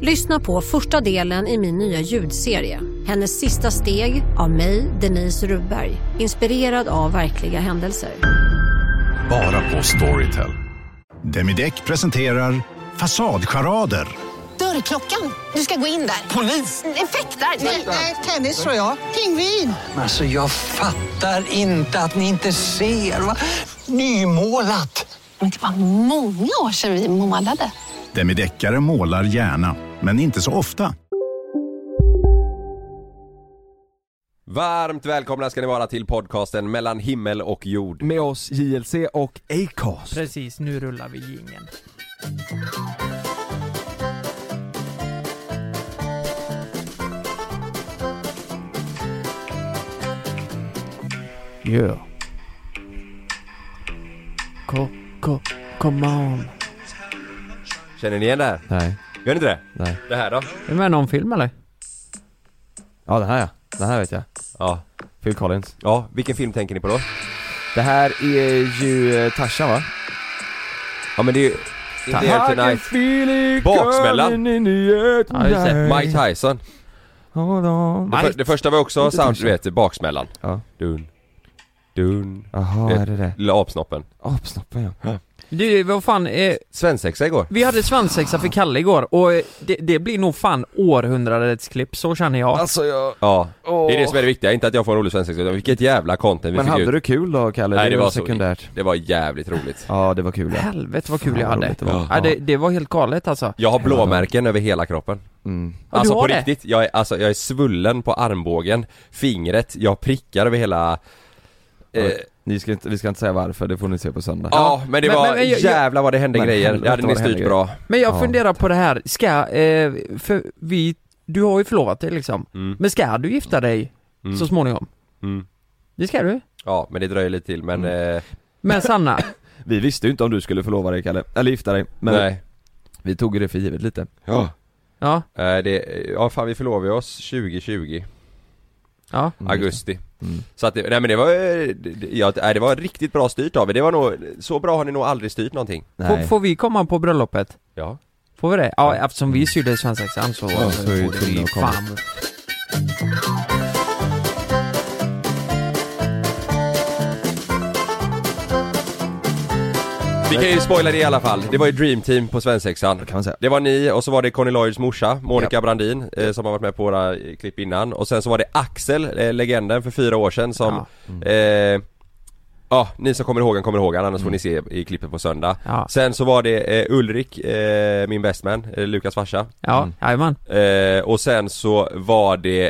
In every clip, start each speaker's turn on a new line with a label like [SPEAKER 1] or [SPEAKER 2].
[SPEAKER 1] Lyssna på första delen i min nya ljudserie. Hennes sista steg av mig, Denise Rubberg. Inspirerad av verkliga händelser.
[SPEAKER 2] Bara på Storytel.
[SPEAKER 3] Demideck presenterar Fasadcharader.
[SPEAKER 4] Dörrklockan. Du ska gå in där. Polis? Effektar? Nej, tennis tror jag. Pingvin.
[SPEAKER 5] Alltså jag fattar inte att ni inte ser. Va? Nymålat!
[SPEAKER 4] Men det var många år sedan vi målade.
[SPEAKER 3] Demideckare målar gärna, men inte så ofta.
[SPEAKER 6] Varmt välkomna ska ni vara till podcasten mellan himmel och jord.
[SPEAKER 7] med oss JLC och Acast.
[SPEAKER 8] Precis, nu rullar vi jingeln.
[SPEAKER 7] Yeah. Ko, ko, come on.
[SPEAKER 6] Känner ni igen det här?
[SPEAKER 9] Nej,
[SPEAKER 6] Gör ni inte det?
[SPEAKER 9] nej.
[SPEAKER 6] Det här då?
[SPEAKER 9] Är det med i någon film eller? Ja den här ja, den här vet jag.
[SPEAKER 6] Ja.
[SPEAKER 9] Phil Collins.
[SPEAKER 6] Ja, vilken film tänker ni på då?
[SPEAKER 9] Det här är ju eh, Tarzan va?
[SPEAKER 6] Ja men det är ju... Inte here tonight.
[SPEAKER 7] feeling
[SPEAKER 6] Baksmällan.
[SPEAKER 7] coming in the air
[SPEAKER 9] Ja, just det.
[SPEAKER 7] tonight.
[SPEAKER 6] Mike Tyson.
[SPEAKER 7] Hold on.
[SPEAKER 6] Det, för, det första var också
[SPEAKER 9] Inte
[SPEAKER 6] sound, du
[SPEAKER 9] Tyson.
[SPEAKER 6] vet, baksmällan.
[SPEAKER 9] Ja.
[SPEAKER 6] Dun. Dun.
[SPEAKER 9] Jaha,
[SPEAKER 6] Vet-
[SPEAKER 9] är det det?
[SPEAKER 6] Lilla apsnoppen.
[SPEAKER 9] Apsnoppen ja.
[SPEAKER 8] Du, vad fan, eh,
[SPEAKER 6] Svensexa igår.
[SPEAKER 8] vi hade svensexa för Kalle igår och eh, det, det blir nog fan århundradets klipp, så känner jag.
[SPEAKER 9] Alltså jag...
[SPEAKER 6] Ja.
[SPEAKER 9] Åh.
[SPEAKER 6] Det är det som är det viktiga, inte att jag får en rolig svensexa utan vilket jävla content vi
[SPEAKER 9] Men
[SPEAKER 6] fick
[SPEAKER 9] hade
[SPEAKER 6] ut.
[SPEAKER 9] du kul då Kalle?
[SPEAKER 6] Nej det
[SPEAKER 9] var
[SPEAKER 6] var
[SPEAKER 9] sekundärt.
[SPEAKER 6] så... Det var jävligt roligt.
[SPEAKER 9] Ja det var kul ja.
[SPEAKER 8] Helvete vad kul
[SPEAKER 9] Fan,
[SPEAKER 8] jag
[SPEAKER 9] vad
[SPEAKER 8] hade.
[SPEAKER 9] roligt det var.
[SPEAKER 8] Ja, det, det var helt galet alltså.
[SPEAKER 6] Jag har blåmärken över hela kroppen.
[SPEAKER 9] Mm.
[SPEAKER 8] Ja,
[SPEAKER 6] Alltså
[SPEAKER 8] du
[SPEAKER 6] på
[SPEAKER 8] har det?
[SPEAKER 6] riktigt, jag är, alltså, jag är svullen på armbågen, fingret, jag prickar över hela... Eh,
[SPEAKER 9] Oj. Ni ska inte, vi ska inte säga varför, det får ni se på söndag.
[SPEAKER 6] Ja, men det
[SPEAKER 8] Men-
[SPEAKER 6] var,
[SPEAKER 8] men- men jag-
[SPEAKER 6] jävlar vad det hände
[SPEAKER 9] Men
[SPEAKER 6] grejer, det
[SPEAKER 9] helvete
[SPEAKER 6] hade
[SPEAKER 9] vad
[SPEAKER 6] ni
[SPEAKER 9] det
[SPEAKER 6] styrt
[SPEAKER 9] hände
[SPEAKER 6] bra
[SPEAKER 8] Men jag
[SPEAKER 9] Ja.
[SPEAKER 8] funderar på det här, ska, eh, för vi, du har ju förlovat dig liksom.
[SPEAKER 6] Mm.
[SPEAKER 8] Men ska du gifta dig
[SPEAKER 6] Mm.
[SPEAKER 8] så småningom?
[SPEAKER 6] Mm.
[SPEAKER 8] Det ska du.
[SPEAKER 6] Ja, men det dröjer lite till men, eh,
[SPEAKER 8] Men Sanna,
[SPEAKER 9] Vi visste ju inte om du skulle förlova dig Kalle, eller gifta dig. Men
[SPEAKER 6] nej
[SPEAKER 9] vi tog ju det för givet lite.
[SPEAKER 6] Ja,
[SPEAKER 8] ja,
[SPEAKER 6] eh, det, ja fan vi förlovade oss 2020,
[SPEAKER 8] ja.
[SPEAKER 9] Mm.
[SPEAKER 6] augusti
[SPEAKER 9] Mm.
[SPEAKER 6] Så att, det, nej men det var, eh, det, ja, nej, det var riktigt bra styrt av er, det var nog, så bra har ni nog aldrig styrt någonting
[SPEAKER 8] Får,
[SPEAKER 9] Nej.
[SPEAKER 8] får vi komma på bröllopet?
[SPEAKER 6] Ja
[SPEAKER 8] Får vi det? Ja, eftersom vi sydde svensexan så,
[SPEAKER 9] Mm. Ja, så är vi
[SPEAKER 8] borde
[SPEAKER 9] tvungna
[SPEAKER 8] vi
[SPEAKER 9] att komma.
[SPEAKER 8] fan
[SPEAKER 6] Vi kan ju spoila det i alla fall, det var ju Dream Team på svensexan
[SPEAKER 9] Kan man säga.
[SPEAKER 6] Det var ni, och så var det Conny Lloyds morsa, Monica Brandin, eh, som har varit med på våra eh, klipp innan Och sen så var det Axel, eh, legenden för fyra år sedan som
[SPEAKER 8] Ja.
[SPEAKER 6] Eh, Ja, ni som kommer ihåg han kommer ihåg han, annars får ni se i klippet på söndag.
[SPEAKER 8] Ja.
[SPEAKER 6] Sen så var det eh, Ulrik, eh, min bestman, eh, Lukas farsa.
[SPEAKER 8] Ja,
[SPEAKER 9] Mm.
[SPEAKER 8] jajamän.
[SPEAKER 6] Eh, och sen så var det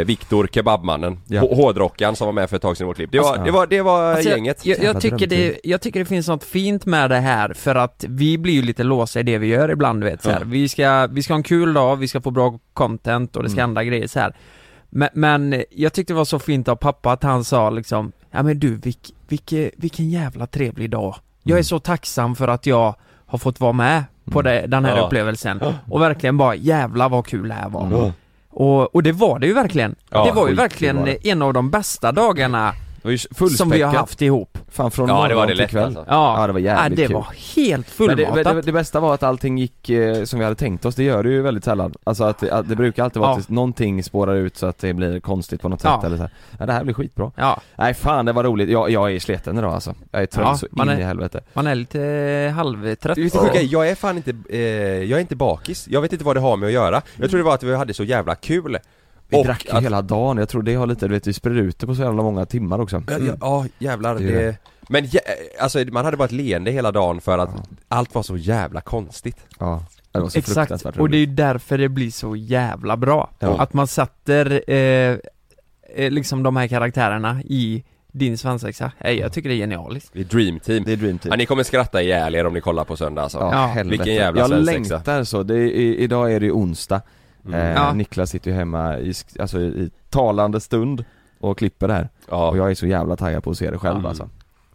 [SPEAKER 6] eh, Viktor Kebabmannen,
[SPEAKER 9] Ja.
[SPEAKER 6] H- hårdrockaren som var med för ett tag sedan i vårt klipp. Det var,
[SPEAKER 9] Alltså,
[SPEAKER 6] det var, det var gänget.
[SPEAKER 8] Jag, jag,
[SPEAKER 9] Jävla
[SPEAKER 8] tycker det,
[SPEAKER 9] drömtid.
[SPEAKER 8] jag tycker det finns något fint med det här för att vi blir ju lite låsta i det vi gör ibland du vet så här. Vi, ska, vi ska ha en kul dag, vi ska få bra content och det ska
[SPEAKER 6] Mm.
[SPEAKER 8] hända grejer så här. Men, men jag tyckte det var så fint av pappa att han sa liksom Ja men du vilk, vilke, vilken jävla trevlig dag
[SPEAKER 6] Mm.
[SPEAKER 8] Jag är så tacksam för att jag har fått vara med på det, den här
[SPEAKER 6] Ja. Mm.
[SPEAKER 8] upplevelsen och verkligen bara jävla vad kul det här var
[SPEAKER 9] Mm.
[SPEAKER 8] och, och det var det ju verkligen
[SPEAKER 6] Ja,
[SPEAKER 8] Det var ju
[SPEAKER 9] skitkul
[SPEAKER 8] verkligen
[SPEAKER 9] var det.
[SPEAKER 8] en av de bästa dagarna
[SPEAKER 9] Det var ju
[SPEAKER 8] som vi har
[SPEAKER 9] fullspäckat.
[SPEAKER 8] haft ihop
[SPEAKER 9] Fan från
[SPEAKER 6] Ja, det var
[SPEAKER 9] morgon
[SPEAKER 6] det
[SPEAKER 9] till
[SPEAKER 6] lätt
[SPEAKER 9] kväll.
[SPEAKER 6] alltså.
[SPEAKER 8] Ja,
[SPEAKER 9] Ja, det var jävligt
[SPEAKER 8] det
[SPEAKER 9] kul.
[SPEAKER 8] var helt
[SPEAKER 9] Men det,
[SPEAKER 8] fullmatat.
[SPEAKER 9] det, det bästa var att allting gick eh, som vi hade tänkt oss, det gör det ju väldigt sällan. Alltså att, det- att det brukar alltid vara
[SPEAKER 8] Ja.
[SPEAKER 9] att det- någonting spårar ut så att det blir konstigt på något sätt
[SPEAKER 8] Ja.
[SPEAKER 9] eller så här. Ja, det här blir skitbra.
[SPEAKER 8] Ja,
[SPEAKER 9] Nej fan det var roligt, jag, jag är sliten idag alltså. Jag är trött
[SPEAKER 8] Ja,
[SPEAKER 9] så in
[SPEAKER 8] man
[SPEAKER 9] i
[SPEAKER 8] är-
[SPEAKER 9] helvete.
[SPEAKER 8] man är lite eh, halvtrött.
[SPEAKER 6] Du vet det sjuka, är, jag är fan inte, eh, jag är inte bakis. Jag vet inte vad det har med att göra. Jag tror det var att vi hade så jävla kul.
[SPEAKER 9] Vi
[SPEAKER 6] Och
[SPEAKER 9] drack ju
[SPEAKER 6] att-
[SPEAKER 9] hela dagen, jag tror det har lite, du vet vi spred ut det på så jävla många timmar också.
[SPEAKER 6] Ja, ja, ja jävlar
[SPEAKER 9] Mm. Det är
[SPEAKER 6] det,
[SPEAKER 9] det.
[SPEAKER 6] Men jä- alltså man hade bara ett leende hela dagen för att allt var så jävla konstigt
[SPEAKER 9] Ja, det var så
[SPEAKER 8] Exakt,
[SPEAKER 9] fruktansvärt roligt.
[SPEAKER 8] och det är ju därför det blir så jävla bra.
[SPEAKER 9] Ja.
[SPEAKER 8] Att man sätter eh, eh, liksom de här karaktärerna i din svensexa. Nej, jag tycker det är genialiskt.
[SPEAKER 6] Det är dream team
[SPEAKER 9] det är dream team.
[SPEAKER 6] ja, ni kommer skratta ihjäl er om ni kollar på söndag alltså.
[SPEAKER 9] Ja,
[SPEAKER 8] Ja,
[SPEAKER 9] helvete.
[SPEAKER 6] vilken jävla
[SPEAKER 9] Jag
[SPEAKER 6] svensexa. Mm.
[SPEAKER 9] längtar så, det är, i, idag är det ju onsdag Eh,
[SPEAKER 8] Ja.
[SPEAKER 9] Niklas sitter ju hemma i, sk- alltså, i, i talande stund och klipper det här Och jag är så jävla taggad på att se det själv
[SPEAKER 6] Mm.
[SPEAKER 9] alltså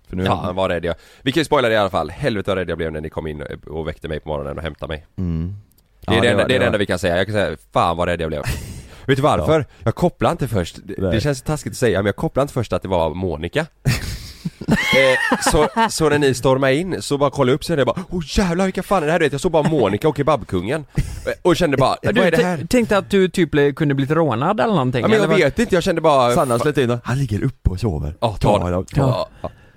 [SPEAKER 9] För nu
[SPEAKER 6] Fan vad rädd jag Vi kan ju spoila det i alla fall, helvete vad rädd jag blev när ni kom in och väckte mig på morgonen och hämtade mig
[SPEAKER 9] mm.
[SPEAKER 6] Det är
[SPEAKER 9] Ja,
[SPEAKER 6] det, enda,
[SPEAKER 9] var-
[SPEAKER 6] det, är det
[SPEAKER 9] var-
[SPEAKER 6] enda vi kan säga, jag kan säga fan vad rädd jag blev Vet du varför? Jag kopplade inte först, det, det
[SPEAKER 9] Nej.
[SPEAKER 6] känns taskigt att säga men jag kopplade inte först att det var Monica eh, så, så när ni stormade in så bara kollade jag upp sen och jag bara oh jävlar vilka fan är det här? Du vet jag såg bara Monica och Kebabkungen Eh, Och kände bara, vad
[SPEAKER 8] Du
[SPEAKER 6] är det
[SPEAKER 8] t-
[SPEAKER 6] här?
[SPEAKER 8] tänkte att du typ ble- kunde blivit rånad eller någonting?
[SPEAKER 6] Ja, men jag
[SPEAKER 8] eller vad-
[SPEAKER 6] vet inte, jag kände bara
[SPEAKER 9] Sanna
[SPEAKER 6] fan-
[SPEAKER 9] slet in Han ligger uppe och sover
[SPEAKER 6] Ja, ta
[SPEAKER 9] honom,
[SPEAKER 6] det. Ja.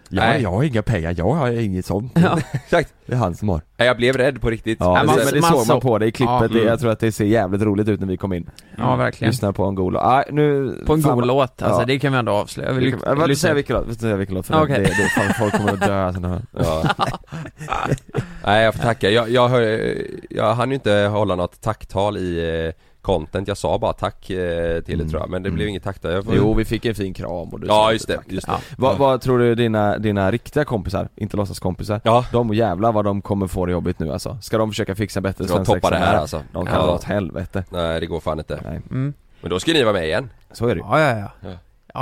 [SPEAKER 6] Nej.
[SPEAKER 9] har inga pengar, jag har inget sånt
[SPEAKER 8] Ja.
[SPEAKER 6] Exakt,
[SPEAKER 9] Det är han som har
[SPEAKER 6] Nej, jag blev rädd på riktigt
[SPEAKER 9] Ja,
[SPEAKER 8] men man-
[SPEAKER 9] men det
[SPEAKER 8] man
[SPEAKER 9] såg
[SPEAKER 8] såg-
[SPEAKER 9] man på dig i klippet,
[SPEAKER 8] Ja,
[SPEAKER 9] det,
[SPEAKER 8] mm.
[SPEAKER 9] jag tror att det ser jävligt roligt ut när vi kom in
[SPEAKER 8] Ja, verkligen.
[SPEAKER 9] Lyssna på en god låt, ah, nu...
[SPEAKER 8] På en
[SPEAKER 9] fan,
[SPEAKER 8] god låt, alltså
[SPEAKER 9] Ja.
[SPEAKER 8] det kan vi ändå avslöja. Vi
[SPEAKER 9] Jag
[SPEAKER 8] lyck-
[SPEAKER 9] vill jag vill inte
[SPEAKER 8] lyssnar-
[SPEAKER 9] säga vilken låt, jag vill inte säga vilken låt för
[SPEAKER 8] Okej.
[SPEAKER 9] det, det, fan, folk kommer att dö sen här.
[SPEAKER 6] Ja. Nej jag får tacka, jag, jag, hör, jag hann ju inte hålla något tacktal i eh, content, jag sa bara tack eh, till det
[SPEAKER 9] Mm.
[SPEAKER 6] tror jag, men det blev
[SPEAKER 9] Mm.
[SPEAKER 6] inget tacktal jag får...
[SPEAKER 9] Jo vi fick en fin kram och du
[SPEAKER 6] Ja just det, just det.
[SPEAKER 8] Ja.
[SPEAKER 9] Vad, vad tror du dina, dina riktiga kompisar, inte låtsaskompisar,
[SPEAKER 6] Ja,
[SPEAKER 9] de jävlar vad de kommer få det jobbigt nu alltså. Ska de försöka fixa bättre
[SPEAKER 6] jag ska toppa det
[SPEAKER 9] svensexa
[SPEAKER 6] här alltså
[SPEAKER 9] De kan dra
[SPEAKER 6] ja.
[SPEAKER 9] åt helvete.
[SPEAKER 6] Nej det går fan inte,
[SPEAKER 9] Nej,
[SPEAKER 8] Mm.
[SPEAKER 6] men då ska ni vara med igen
[SPEAKER 9] så är det ju.
[SPEAKER 8] Ja, ja, ja.
[SPEAKER 6] Ja.
[SPEAKER 8] ja.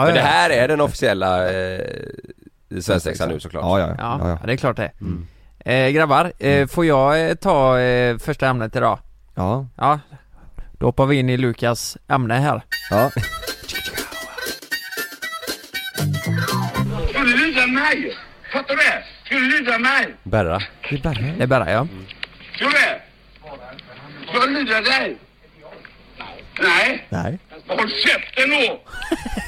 [SPEAKER 6] För
[SPEAKER 8] ja,
[SPEAKER 6] det
[SPEAKER 8] ja.
[SPEAKER 6] här är den officiella eh, svensexan nu såklart
[SPEAKER 9] Ja, ja, ja.
[SPEAKER 8] Ja,
[SPEAKER 9] ja, ja. Mm.
[SPEAKER 8] ja, det är klart det. Eh, grabbar, eh, får jag eh, ta eh, första ämnet idag?
[SPEAKER 9] ja.
[SPEAKER 8] Ja. Då hoppar vi in i Lukas ämne här.
[SPEAKER 9] ja.
[SPEAKER 6] Berra
[SPEAKER 8] Det är bara jag.
[SPEAKER 9] Nej.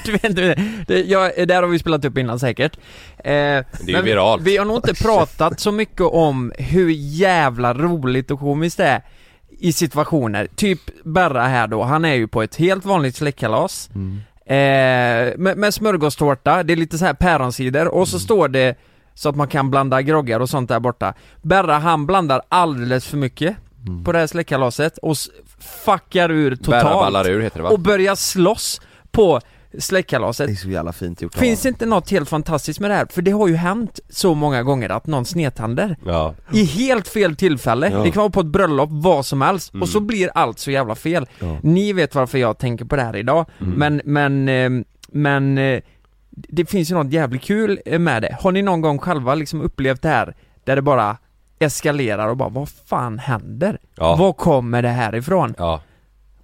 [SPEAKER 8] Du vet, du, det, jag, det här har vi spelat upp innan säkert. Eh, det är
[SPEAKER 6] ju viralt.
[SPEAKER 8] Vi, vi har nog inte pratat så mycket om hur jävla roligt och komiskt det är i situationer. Typ Berra här då, han är ju på ett helt vanligt släktkalas. Eh, med, med smörgåstårta, det är lite så här päronsider och så står det så att man kan blanda groggar och sånt där borta. Berra han blandar alldeles för mycket på det här släktkalaset och s- fuckar ur totalt.
[SPEAKER 6] Berra ballar ur heter det va?
[SPEAKER 8] Och börjar slåss på släktkalaset.
[SPEAKER 9] Det är så jävla fint gjort av
[SPEAKER 8] Finns det
[SPEAKER 9] honom.
[SPEAKER 8] inte något helt fantastiskt med det här? För det har ju hänt så många gånger att någon snedtänder
[SPEAKER 6] Ja,
[SPEAKER 8] I helt fel tillfälle, det kan vara på ett bröllop, vad som helst, och
[SPEAKER 6] Mm.
[SPEAKER 8] så blir allt så jävla fel Ni vet varför jag tänker på det här idag,
[SPEAKER 6] Mm.
[SPEAKER 8] men, men, eh, men eh, Det finns ju något jävligt kul eh, med det, har ni någon gång själva liksom upplevt det här? Där det bara eskalerar och bara, vad fan händer?
[SPEAKER 6] Ja.
[SPEAKER 8] Var kommer det här ifrån?
[SPEAKER 6] ja,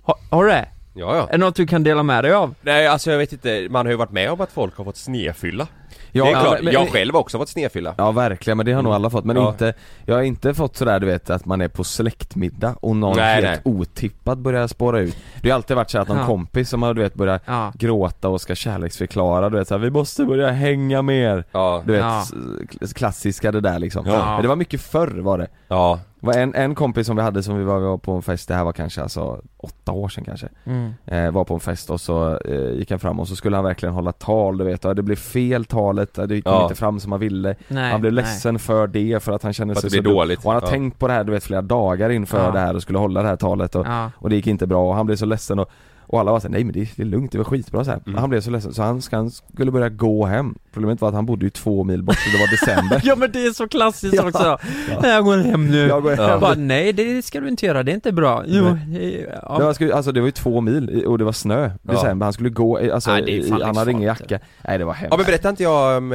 [SPEAKER 8] Har, har du det?
[SPEAKER 6] ja, ja.
[SPEAKER 8] Är det något du kan dela med dig av?
[SPEAKER 6] Nej alltså jag vet inte, man har ju varit med om att folk har fått snefylla
[SPEAKER 9] Ja,
[SPEAKER 6] Det är klart,
[SPEAKER 9] men- men-
[SPEAKER 6] jag själv har också fått snefylla
[SPEAKER 9] Ja verkligen, men det har nog alla fått. Men
[SPEAKER 6] Mm. Ja.
[SPEAKER 9] inte, jag har inte fått sådär du vet att man är på släktmiddag och någon
[SPEAKER 6] Nej,
[SPEAKER 9] helt otippat börjar spåra ut. Det har alltid varit så att någon
[SPEAKER 8] Ja.
[SPEAKER 9] kompis som har du vet börjat
[SPEAKER 8] Ja.
[SPEAKER 9] gråta och ska kärleksförklara du vet såhär, vi måste börja hänga mer.
[SPEAKER 6] Ja,
[SPEAKER 9] Du vet,
[SPEAKER 8] Ja.
[SPEAKER 9] s- kl- klassiska det där liksom.
[SPEAKER 6] Ja.
[SPEAKER 9] Men det var mycket förr var det.
[SPEAKER 6] ja,
[SPEAKER 9] Det var en, en kompis som vi hade som vi var, vi var på en fest, det här var kanske alltså åtta år sedan kanske
[SPEAKER 6] Mm.
[SPEAKER 9] eh, Var på en fest och så eh, gick han fram och så skulle han verkligen hålla tal du vet, och det blev fel talet, eh, det kom
[SPEAKER 6] Ja.
[SPEAKER 9] inte fram som han ville
[SPEAKER 8] Nej,
[SPEAKER 9] Han blev
[SPEAKER 8] nej.
[SPEAKER 9] ledsen för det för att han kände
[SPEAKER 6] För att
[SPEAKER 9] sig
[SPEAKER 6] det
[SPEAKER 9] så
[SPEAKER 6] blir
[SPEAKER 9] dum.
[SPEAKER 6] dåligt.
[SPEAKER 9] Och han har
[SPEAKER 6] Ja.
[SPEAKER 9] tänkt på det här du vet flera dagar inför
[SPEAKER 8] Ja.
[SPEAKER 9] det här och skulle hålla det här talet och,
[SPEAKER 8] Ja.
[SPEAKER 9] och det gick inte bra och han blev så ledsen och och alla var såhär, nej men det är, det är lugnt, det var skitbra så här.
[SPEAKER 6] Mm.
[SPEAKER 9] Men Han blev så ledsen så han, ska, han skulle börja gå hem Problemet var att han bodde ju två mil bort, så det var december
[SPEAKER 8] Ja men det är så klassiskt
[SPEAKER 9] Ja.
[SPEAKER 8] också. Nej, Jag går hem nu.
[SPEAKER 9] Jag går hem.
[SPEAKER 8] Bara, nej det ska du inte göra, det är inte bra. Jo, eh, ja.
[SPEAKER 9] Nej, han skulle, alltså det var ju två mil i- och det var snö,
[SPEAKER 6] Ja.
[SPEAKER 9] december, han skulle gå, i- alltså
[SPEAKER 8] Nej, det är
[SPEAKER 9] i-
[SPEAKER 8] fan
[SPEAKER 9] han hade ingen
[SPEAKER 8] livsfarligt.
[SPEAKER 9] jacka Nej det var hemskt
[SPEAKER 6] Ja men berättade inte jag om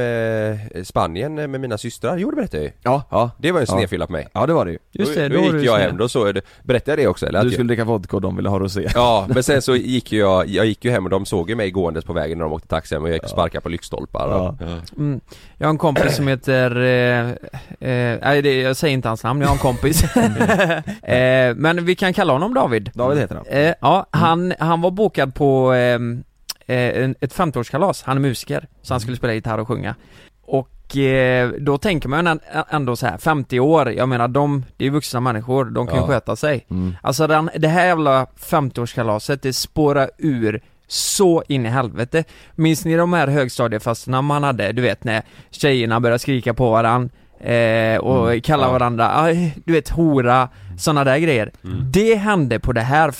[SPEAKER 6] eh, Spanien med mina systrar? Jo det berättade jag ju
[SPEAKER 9] ja, ja,
[SPEAKER 6] Det var ju en
[SPEAKER 9] Ja.
[SPEAKER 6] snedfylla på mig
[SPEAKER 9] ja det var det ju
[SPEAKER 8] Just
[SPEAKER 6] då,
[SPEAKER 8] det, då
[SPEAKER 6] då
[SPEAKER 8] var du
[SPEAKER 6] gick jag
[SPEAKER 8] sned.
[SPEAKER 6] hem, då så, berättade jag det också eller? Att
[SPEAKER 9] Du
[SPEAKER 6] jag-
[SPEAKER 9] skulle dricka vodka och de ville ha rosé
[SPEAKER 6] Ja, men sen så gick ju jag, jag gick ju hem och de såg ju mig gåendes på vägen när de åkte taxi hem och jag gick och sparkade på lyktstolpar och,
[SPEAKER 9] Ja.
[SPEAKER 8] Mm. Jag har en kompis som heter, eh, eh, nej det, jag säger inte hans namn, jag har en kompis. eh, men vi kan kalla honom David.
[SPEAKER 9] David heter han
[SPEAKER 8] Eh, ja,
[SPEAKER 9] Mm.
[SPEAKER 8] han, han var bokad på ehm, eh, en- ett 50-årskalas, han är musiker, så han skulle spela gitarr och sjunga. Och eh, då tänker man än- ändå så här, 50 år, jag menar de, det är ju vuxna människor, de kan ju
[SPEAKER 6] Ja.
[SPEAKER 8] sköta sig.
[SPEAKER 9] Mm.
[SPEAKER 8] Alltså den, det här jävla 50-årskalaset, det spårar ur så in i helvete. Minns ni de här högstadiefesterna man hade, du vet när tjejerna började skrika på varann eh, och kalla
[SPEAKER 6] Mm. Ja.
[SPEAKER 8] varandra, aj, du vet hora, sådana där grejer.
[SPEAKER 6] Mm.
[SPEAKER 8] Det hände på det här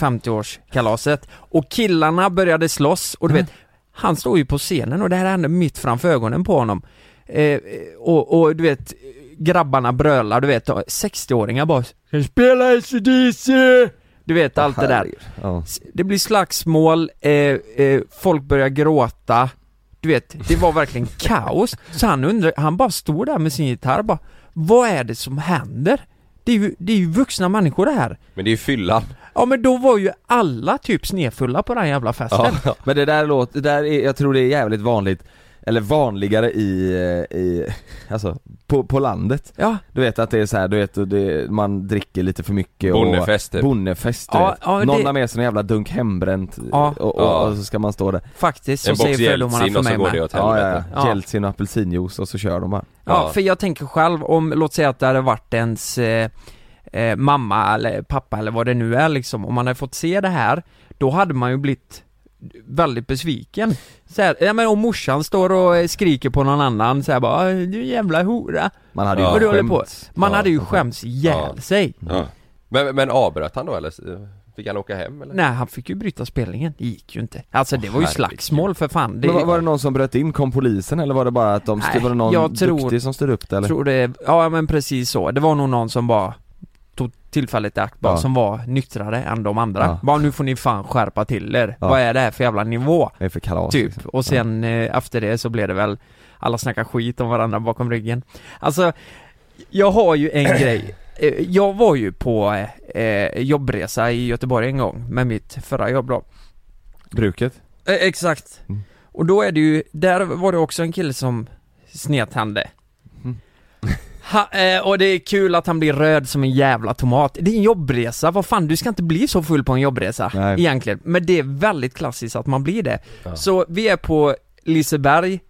[SPEAKER 8] 50-årskalaset och killarna började slåss och du
[SPEAKER 6] Mm.
[SPEAKER 8] vet, han stod ju på scenen och det här hände mitt framför ögonen på honom. Eh, och, och du vet, grabbarna brölar, du vet, och 60-åringar bara 'Ska spela ACDC? Du vet allt det där.
[SPEAKER 9] Herregud. Ja.
[SPEAKER 8] S- Det blir slagsmål, eh, eh, folk börjar gråta Du vet, det var verkligen kaos Så han undrar, han bara står där med sin gitarr bara Vad är det som händer? Det är ju, det är ju vuxna människor det här
[SPEAKER 6] Men det är ju fyllan.
[SPEAKER 8] Ja men då var ju alla typ snefulla på den jävla festen
[SPEAKER 9] Ja. Men det där låter, det där är, jag tror det är jävligt vanligt eller vanligare i, eh, i alltså, på, på landet.
[SPEAKER 8] Ja,
[SPEAKER 9] Du vet att det är så här, du vet, och det, man dricker lite för mycket
[SPEAKER 6] Bonnefest,
[SPEAKER 9] och
[SPEAKER 6] typ.
[SPEAKER 9] Bonnefest du
[SPEAKER 8] Ja,
[SPEAKER 9] vet.
[SPEAKER 8] ja,
[SPEAKER 9] Någon
[SPEAKER 8] det-
[SPEAKER 9] har med sig en jävla dunk hembränt
[SPEAKER 8] Ja.
[SPEAKER 9] och, och,
[SPEAKER 6] Ja.
[SPEAKER 9] och så ska man stå där.
[SPEAKER 8] faktiskt så
[SPEAKER 6] en box
[SPEAKER 8] säger fördomarna
[SPEAKER 6] Jeltsin
[SPEAKER 8] för
[SPEAKER 6] och så
[SPEAKER 8] mig
[SPEAKER 6] går det
[SPEAKER 8] med
[SPEAKER 6] åt
[SPEAKER 9] Ja,
[SPEAKER 6] helvete.
[SPEAKER 9] ja, ja.
[SPEAKER 8] Ja.
[SPEAKER 9] Jeltsin och apelsinjuice och så kör de bara.
[SPEAKER 8] Ja,
[SPEAKER 6] Ja.
[SPEAKER 8] för jag tänker själv om, låt säga att det hade varit ens eh, eh, mamma eller pappa eller vad det nu är liksom, om man hade fått se det här, då hade man ju blivit väldigt besviken. Så här, ja men om morsan står och eh, skriker på någon annan så här bara "Ah, du jävla hora.
[SPEAKER 9] Man hade ju
[SPEAKER 6] Ja.
[SPEAKER 8] Vad du håller
[SPEAKER 9] skämt.
[SPEAKER 8] på. Man
[SPEAKER 9] Ja,
[SPEAKER 8] hade ju
[SPEAKER 9] som
[SPEAKER 8] skämts ihjäl
[SPEAKER 6] Ja.
[SPEAKER 8] sig.
[SPEAKER 6] Ja. Men, men avbröt han då eller? Eh, Fick han åka hem eller?
[SPEAKER 8] Nej, han fick ju bryta spelningen. Det gick ju inte. Alltså det var ju
[SPEAKER 6] herregud.
[SPEAKER 8] slagsmål för fan. Det,
[SPEAKER 9] Men var, var det någon som bröt in? Kom polisen eller var det bara att de,
[SPEAKER 8] Nej,
[SPEAKER 9] Nej, var det någon
[SPEAKER 8] jag tror-
[SPEAKER 9] duktig som stod upp det eller?
[SPEAKER 8] Tror det, ja men precis så. Det var nog någon som bara tog tillfället i akt bara,
[SPEAKER 9] Ja.
[SPEAKER 8] som var nyktrare än de andra.
[SPEAKER 9] Ja.
[SPEAKER 8] Bara nu får ni fan skärpa till er.
[SPEAKER 9] Ja.
[SPEAKER 8] Vad är det här för jävla nivå?
[SPEAKER 9] Det är för kalas
[SPEAKER 8] Typ.
[SPEAKER 9] liksom.
[SPEAKER 8] Och sen eh, efter det så blev det väl, alla snackar skit om varandra bakom ryggen. Alltså, jag har ju en grej. Eh, Jag var ju på eh, jobbresa i Göteborg en gång med mitt förra jobb då.
[SPEAKER 9] Bruket?
[SPEAKER 8] Eh, Exakt.
[SPEAKER 9] Mm.
[SPEAKER 8] Och då är det ju, där var det också en kille som snedtände.
[SPEAKER 9] Mm.
[SPEAKER 8] Ha, eh, och det är kul att han blir röd som en jävla tomat. Det är en jobbresa, vad fan du ska inte bli så full på en jobbresa
[SPEAKER 9] Nej.
[SPEAKER 8] egentligen. Men det är väldigt klassiskt att man blir det. Så vi är på Liseberg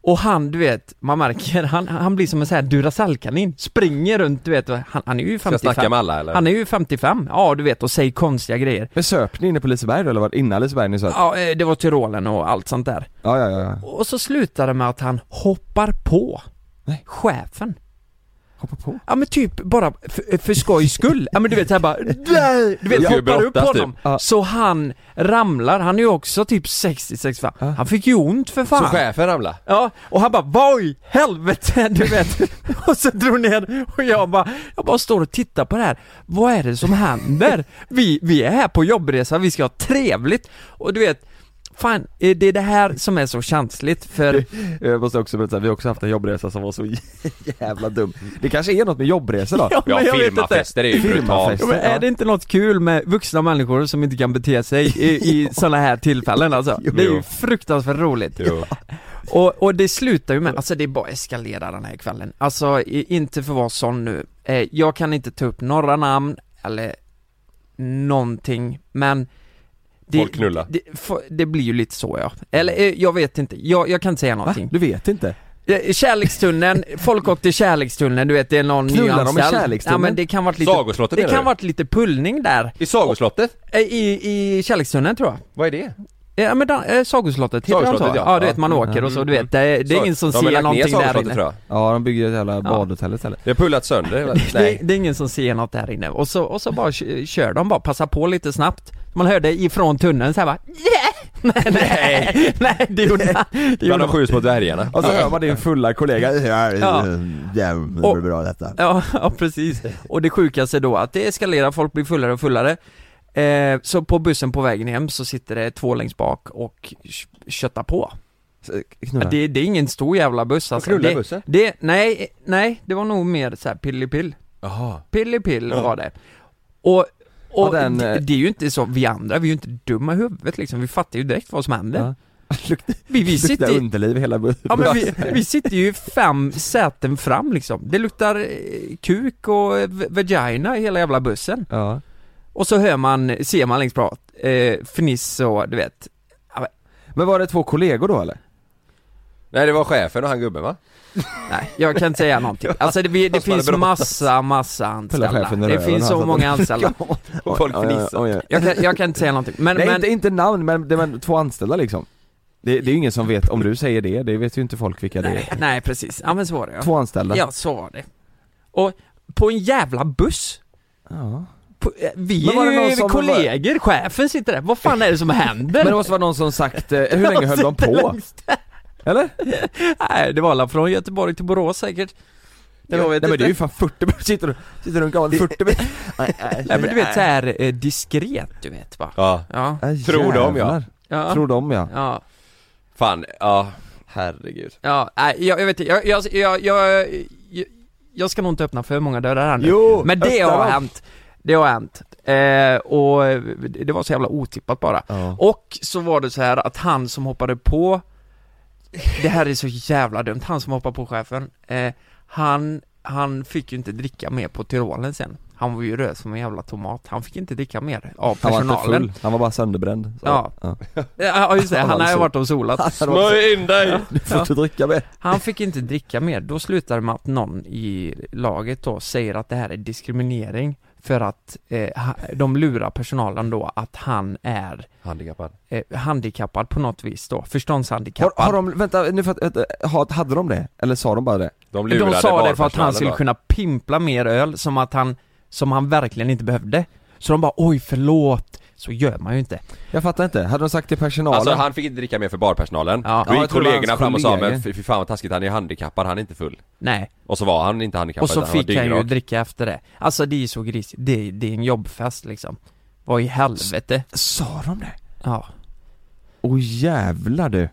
[SPEAKER 8] och han, du vet, man märker, han, han blir som en sån här Duracellkanin. Springer runt, du vet, han, han är ju
[SPEAKER 6] Ska jag
[SPEAKER 8] 55.
[SPEAKER 6] snacka med alla eller?
[SPEAKER 8] han är ju 55, ja du vet, och säger konstiga grejer.
[SPEAKER 9] Men söp ni inne på Liseberg då, eller var det innan Liseberg ni söp?
[SPEAKER 8] Ja, eh, det var Tyrolen och allt sånt där.
[SPEAKER 9] Ja, ja, ja, ja.
[SPEAKER 8] Och så slutar det med att han hoppar på
[SPEAKER 9] Nej.
[SPEAKER 8] chefen.
[SPEAKER 9] Hoppa på.
[SPEAKER 8] Ja men typ bara för, för skojs skull. Ja men du vet såhär bara "Nej!" Du vet
[SPEAKER 6] Ska ju
[SPEAKER 8] hoppar upp på
[SPEAKER 6] brottas,
[SPEAKER 8] honom.
[SPEAKER 6] typ.
[SPEAKER 9] Ja.
[SPEAKER 8] Så han ramlar, han är ju också typ 60-65. Han fick ju ont för fan.
[SPEAKER 6] Så chefen ramlade?
[SPEAKER 8] Ja, och han bara 'Vad i helvete?' Du vet. och så drog ner och jag bara, jag bara står och tittar på det här. Vad är det som händer? Vi, vi är här på jobbresa, vi ska ha trevligt. Och du vet, fan, eh, det är det här som är så känsligt för
[SPEAKER 9] Jag måste också berätta, vi har också haft en jobbresa som var så jävla dum. Det kanske är något med jobbresor då?
[SPEAKER 8] men
[SPEAKER 6] Ja,
[SPEAKER 8] jag vet
[SPEAKER 6] firmafester är ju brutalt.
[SPEAKER 9] Firmafester.
[SPEAKER 8] Ja, men är det inte något kul med vuxna människor som inte kan bete sig i, i sådana här tillfällen alltså? Det är ju fruktansvärt roligt.
[SPEAKER 6] Jo.
[SPEAKER 8] Och, och det slutar ju med, alltså det bara eskalerar den här kvällen. Alltså i- inte för att vara sån nu, eh, jag kan inte ta upp några namn eller någonting, men det,
[SPEAKER 6] Folk knullar.
[SPEAKER 8] Det, fo- det blir ju lite så ja. Eller eh, jag vet inte, jag, jag kan inte säga
[SPEAKER 9] Va?
[SPEAKER 8] någonting.
[SPEAKER 9] Du vet inte?
[SPEAKER 8] Eh, Kärlekstunneln, folk åkte i kärlekstunneln, du vet det är någon
[SPEAKER 9] Knullar de i
[SPEAKER 8] nyanställd.
[SPEAKER 9] kärlekstunneln?
[SPEAKER 8] Ja men det kan varit lite...
[SPEAKER 6] Sagoslottet
[SPEAKER 8] Det
[SPEAKER 6] menar
[SPEAKER 8] kan
[SPEAKER 6] du?
[SPEAKER 8] varit lite pullning där.
[SPEAKER 6] I Sagoslottet?
[SPEAKER 8] Eh, I, i kärlekstunneln tror jag.
[SPEAKER 6] Vad är det?
[SPEAKER 8] Ja men da- eh, Sagoslottet, heter det så?
[SPEAKER 6] Sagoslottet,
[SPEAKER 8] Ja.
[SPEAKER 6] ja.
[SPEAKER 8] du vet man
[SPEAKER 9] Ja.
[SPEAKER 8] åker och så du vet, det, är- det är ingen som
[SPEAKER 6] De har lagt ner
[SPEAKER 8] ser någonting där
[SPEAKER 6] Sagoslottet,
[SPEAKER 8] inne.
[SPEAKER 6] tror jag.
[SPEAKER 9] Ja, de bygger ett jävla badhotell istället.
[SPEAKER 6] Det har pullat sönder hela...
[SPEAKER 8] Det,
[SPEAKER 6] Nej.
[SPEAKER 8] det är ingen som ser något där inne. Och så, och så bara k- kör de bara, passa på lite snabbt. Man hörde ifrån tunneln såhär bara yeah! Nej, nej, nej, det gjorde han. Det
[SPEAKER 6] Bland
[SPEAKER 8] gjorde
[SPEAKER 6] de
[SPEAKER 8] han.
[SPEAKER 6] sju små dvärgarna.
[SPEAKER 9] Och så hör man din fulla kollega
[SPEAKER 8] Ja.
[SPEAKER 9] Det
[SPEAKER 8] Och-
[SPEAKER 9] blir bra detta
[SPEAKER 8] Ja, ja, precis. Och det sjukaste då att det eskalerar, folk blir fullare och fullare. Eh, så på bussen på vägen hem så sitter det två längst bak och k- köttar på. Ja,
[SPEAKER 9] Knulla.
[SPEAKER 8] det, det är ingen stor jävla buss alltså.
[SPEAKER 6] knullar
[SPEAKER 8] det,
[SPEAKER 6] bussen?
[SPEAKER 8] Det, nej, nej, det var nog mer så här pillipill.
[SPEAKER 6] Jaha.
[SPEAKER 8] Pillipill var det. Och, och
[SPEAKER 9] Ja, den,
[SPEAKER 8] det,
[SPEAKER 9] eh,
[SPEAKER 8] det är ju inte så, vi andra, vi är ju inte dumma i huvudet liksom, vi fattar ju direkt vad som händer.
[SPEAKER 9] Ja. Luktar,
[SPEAKER 8] Vi, vi sitter
[SPEAKER 9] luktar
[SPEAKER 8] ju,
[SPEAKER 9] underliv hela
[SPEAKER 8] ja, men vi, vi sitter ju fem säten fram liksom. Det luktar eh, kuk och eh, v- vagina i hela jävla bussen.
[SPEAKER 9] Ja.
[SPEAKER 8] Och så hör man, ser man längst bak, eh, fniss och du vet.
[SPEAKER 9] Men var det två kollegor då eller?
[SPEAKER 6] Nej det var chefen och han gubben va?
[SPEAKER 8] Nej, jag kan inte säga någonting. Alltså det, vi- det
[SPEAKER 6] Fast man
[SPEAKER 8] finns
[SPEAKER 6] hade bråttat.
[SPEAKER 8] massa, massa anställda.
[SPEAKER 9] chefen i
[SPEAKER 8] Det
[SPEAKER 9] röven,
[SPEAKER 8] finns så
[SPEAKER 9] alltså.
[SPEAKER 8] många anställda.
[SPEAKER 6] Och folk fnissar.
[SPEAKER 9] Oj, oj, oj.
[SPEAKER 8] Jag kan, jag kan inte säga någonting. Men,
[SPEAKER 9] Nej
[SPEAKER 8] men
[SPEAKER 9] inte, inte namn men, det var två anställda liksom det, det är ju ingen som vet, om du säger det, det vet ju inte folk vilka det
[SPEAKER 8] nej,
[SPEAKER 9] är
[SPEAKER 8] nej, precis. Ja men så var det ja.
[SPEAKER 9] Två anställda?
[SPEAKER 8] Ja, så var det. Och på en jävla buss.
[SPEAKER 9] Ja.
[SPEAKER 8] På, eh, vi
[SPEAKER 9] Men var
[SPEAKER 8] är
[SPEAKER 9] det någon
[SPEAKER 8] ju
[SPEAKER 9] som-
[SPEAKER 8] kollegor, chefen sitter där. Vad fan är det som händer?
[SPEAKER 9] Men det måste vara någon som sagt, eh, hur länge höll de
[SPEAKER 8] sitter
[SPEAKER 9] på?
[SPEAKER 8] längst-
[SPEAKER 9] Eller?
[SPEAKER 8] Nej, det var alla från Göteborg till Borås säkert.
[SPEAKER 9] Nej, men,
[SPEAKER 8] Jag
[SPEAKER 9] nej,
[SPEAKER 8] vet
[SPEAKER 9] men det är ju
[SPEAKER 8] inte.
[SPEAKER 9] fan 40 minuter, sitter du sitter du och gav 40 minuter?
[SPEAKER 8] Nej men du vet såhär eh, diskret du vet va?
[SPEAKER 6] Ja.
[SPEAKER 8] Ja.
[SPEAKER 6] Tror de, ja.
[SPEAKER 8] Ja.
[SPEAKER 9] Tror de ja.
[SPEAKER 8] Ja.
[SPEAKER 6] Fan, ja. Herregud.
[SPEAKER 8] Ja, nej, jag, jag vet inte, jag, jag, jag, jag, jag, jag ska nog inte öppna för många dörrar här nu
[SPEAKER 9] Jo,
[SPEAKER 8] Men det
[SPEAKER 9] öppna
[SPEAKER 8] har
[SPEAKER 9] dem.
[SPEAKER 8] hänt, det har hänt eh, Och eh, det var så jävla otippat bara
[SPEAKER 9] Ja.
[SPEAKER 8] Och så var det så här att han som hoppade på Det här är så jävla dumt, han som hoppade på chefen eh, Han, han fick ju inte dricka mer på Tyrolen sen Han var ju röd som en jävla tomat, han fick inte dricka mer av
[SPEAKER 9] Han var inte
[SPEAKER 8] personalen
[SPEAKER 9] full, han var bara sönderbränd. Så.
[SPEAKER 8] Ja. Ja just det, han har ju varit och solat
[SPEAKER 6] Smörj in dig!
[SPEAKER 9] Du får inte dricka mer.
[SPEAKER 8] Han fick inte dricka mer, då slutar det med att någon i laget då säger att det här är diskriminering för att eh, ha- de lurar personalen då att han är
[SPEAKER 6] Handikappad.
[SPEAKER 8] eh, handikappad på något vis då,
[SPEAKER 9] Har,
[SPEAKER 8] förståndshandikappad
[SPEAKER 9] har de, vänta nu för att, vänta, ha- hade de det? Eller sa de bara det?
[SPEAKER 6] De lurade
[SPEAKER 8] De sa det för att
[SPEAKER 6] barpersonalen
[SPEAKER 8] han skulle
[SPEAKER 6] då.
[SPEAKER 8] kunna pimpla mer öl som att han, som han verkligen inte behövde Så de bara oj förlåt, så gör man ju inte
[SPEAKER 9] Jag fattar inte, hade de sagt till personalen?
[SPEAKER 6] Alltså han fick inte dricka mer för barpersonalen.
[SPEAKER 8] Ja.
[SPEAKER 6] Då
[SPEAKER 9] Ja,
[SPEAKER 6] gick
[SPEAKER 9] jag tror det var
[SPEAKER 6] kollegorna
[SPEAKER 9] hans
[SPEAKER 6] fram och sa
[SPEAKER 9] kollegor.
[SPEAKER 6] men fy fy fan vad taskigt, han är handikappad, han är inte full.
[SPEAKER 8] Nej,
[SPEAKER 6] Och så var han inte handikappad
[SPEAKER 8] och så
[SPEAKER 6] utan var
[SPEAKER 8] fick han ju
[SPEAKER 6] dyngrak.
[SPEAKER 8] dricka efter det Alltså det är ju så grisigt, det, är- det är en jobbfest liksom Vad i helvete?
[SPEAKER 9] Sa de det?
[SPEAKER 8] Ja
[SPEAKER 9] Åh jävlar du!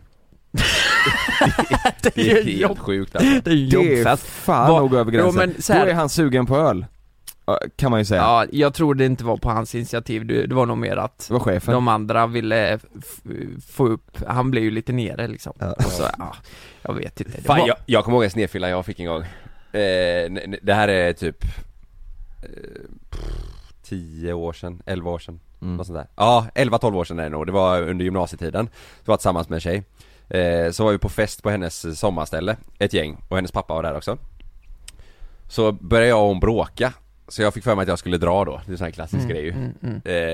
[SPEAKER 8] Det
[SPEAKER 6] Det är helt sjukt alltså.
[SPEAKER 8] Det är ju
[SPEAKER 9] Det är
[SPEAKER 8] jobbfest.
[SPEAKER 9] fan
[SPEAKER 8] Vad-
[SPEAKER 9] nog över gränsen.
[SPEAKER 8] Jo, men så här-
[SPEAKER 9] Då är han sugen på öl. Ja, Kan man ju säga.
[SPEAKER 8] Ja, jag tror det inte var på hans initiativ, det det var nog mer att
[SPEAKER 9] Det var chefen.
[SPEAKER 8] de andra ville f- få upp, han blev ju lite nere liksom.
[SPEAKER 9] Ja.
[SPEAKER 8] Och så, ja, jag vet inte. Det
[SPEAKER 6] Fan
[SPEAKER 8] var,
[SPEAKER 6] jag, jag kommer ihåg en snedfylla jag fick en gång. Eh, n- n- det här är typ... Eh, pff, 10 år sedan, 11 år sedan.
[SPEAKER 9] Mm.
[SPEAKER 6] Något sånt där. Ja, 11-12 år sedan är det nog. Det var under gymnasietiden. Det var tillsammans med en tjej. Eh, så var vi på fest på hennes eh, sommarställe, ett gäng. Och hennes pappa var där också. Så började jag och hon bråka. Så jag fick för mig att jag skulle dra då. Det är en sån här klassisk grej ju.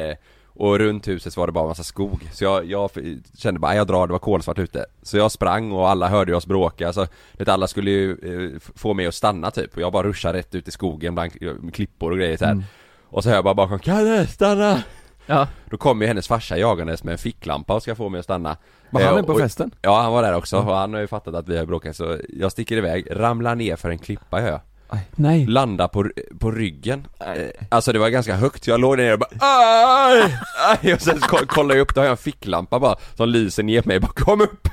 [SPEAKER 6] Eh, och runt huset så var det bara massa skog. Så jag, jag f- kände bara, "Nej, jag drar, det var kolsvart ute. Så jag sprang och alla hörde oss bråka. Så det alla skulle ju eh, f- få mig att stanna typ. Och jag bara ruschade rätt ut i skogen bland k- klippor och grejer så här. Och så hör jag bara bakom, Kalle stanna!
[SPEAKER 8] ja.
[SPEAKER 6] Då kommer ju hennes farsa jagandes med en ficklampa och ska få mig att stanna.
[SPEAKER 9] Var han
[SPEAKER 6] Eh,
[SPEAKER 9] med på
[SPEAKER 6] och-
[SPEAKER 9] festen? Mm.
[SPEAKER 6] Ja han var där också och han har ju fattat att vi har bråkat så jag sticker iväg, ramlar ner för en klippa hör jag.
[SPEAKER 8] Nej.
[SPEAKER 6] Landar på, r- på ryggen. Eh, Alltså det var ganska högt, jag låg där nere och bara aj, aj! Och sen ko- kollar jag upp, då har jag en ficklampa bara som lyser ner mig. Jag Bara, kom upp!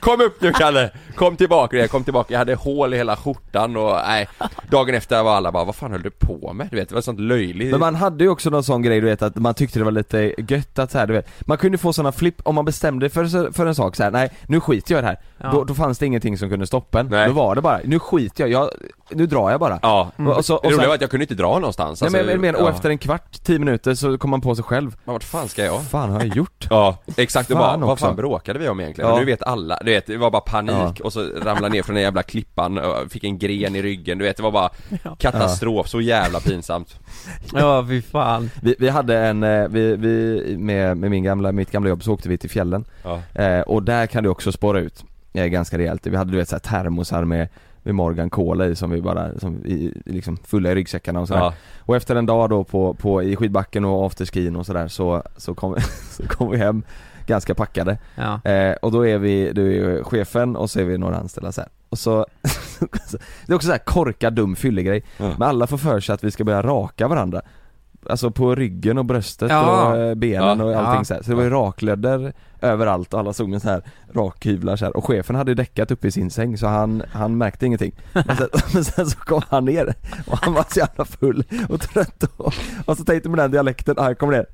[SPEAKER 6] Kom upp nu Kalle! Kom tillbaka! Jag kom tillbaka, jag hade hål i hela skjortan och nej. Dagen efter var alla bara, vad fan höll du på med? Du vet, det var sånt löjligt.
[SPEAKER 9] Men man hade ju också någon sån grej du vet att man tyckte det var lite gött att så här, du vet Man kunde få såna flipp, om man bestämde för, för en sak så här, nej nu skiter jag i det här
[SPEAKER 8] Ja.
[SPEAKER 9] då, då fanns det ingenting som kunde stoppa en,
[SPEAKER 6] Nej.
[SPEAKER 9] då var det bara, nu skiter jag, jag nu drar jag bara
[SPEAKER 6] Ja,
[SPEAKER 9] Och så,
[SPEAKER 6] det
[SPEAKER 9] och
[SPEAKER 6] roliga var
[SPEAKER 9] sen,
[SPEAKER 6] att jag kunde inte dra någonstans.
[SPEAKER 9] nej, men,
[SPEAKER 6] alltså,
[SPEAKER 9] men, men, och
[SPEAKER 6] ja.
[SPEAKER 9] efter en kvart, tio minuter så kom man på sig själv
[SPEAKER 6] Men vart fan ska jag?
[SPEAKER 9] Fan har jag gjort?
[SPEAKER 6] Ja, exakt. och bara,
[SPEAKER 9] Fan
[SPEAKER 6] vad
[SPEAKER 9] också.
[SPEAKER 6] fan bråkade vi om egentligen?
[SPEAKER 9] Ja.
[SPEAKER 6] Och nu vet alla, du vet, det var bara panik och så ramlade ner från den jävla klippan och fick en gren i ryggen, du vet, det var bara katastrof, så jävla pinsamt.
[SPEAKER 8] Ja, fy fan.
[SPEAKER 9] Vi, vi hade en, eh, vi, vi med, med min gamla, mitt gamla jobb så åkte vi till fjällen
[SPEAKER 6] Ja.
[SPEAKER 9] Eh, och där kan du också spåra ut eh, ganska rejält. Vi hade du vet såhär termosar med, med Morgan Cola i som vi bara, som i, i- liksom fulla i ryggsäckarna och sådär.
[SPEAKER 6] Ja.
[SPEAKER 9] Och efter en dag då på, på, i skidbacken och afterskin och sådär så, så kom, så kom vi hem ganska packade.
[SPEAKER 8] Ja.
[SPEAKER 9] Eh, och då är vi, du är ju chefen och så är vi några anställda så här. Och så, det är också så här korkad dum fyllegrej.
[SPEAKER 6] Ja.
[SPEAKER 9] Men alla får för sig att vi ska börja raka varandra. Alltså på ryggen och bröstet
[SPEAKER 8] Ja.
[SPEAKER 9] och eh, benen
[SPEAKER 6] Ja,
[SPEAKER 9] och allting
[SPEAKER 8] ja.
[SPEAKER 9] så här. Så det var ju raklödder överallt och alla såg med så här rakhyvlar så här. Och chefen hade ju däckat uppe i sin säng så han, han märkte ingenting. Men sen, men sen så kom han ner och han var så jävla full och trött och, och så tänkte man den dialekten, han kom ner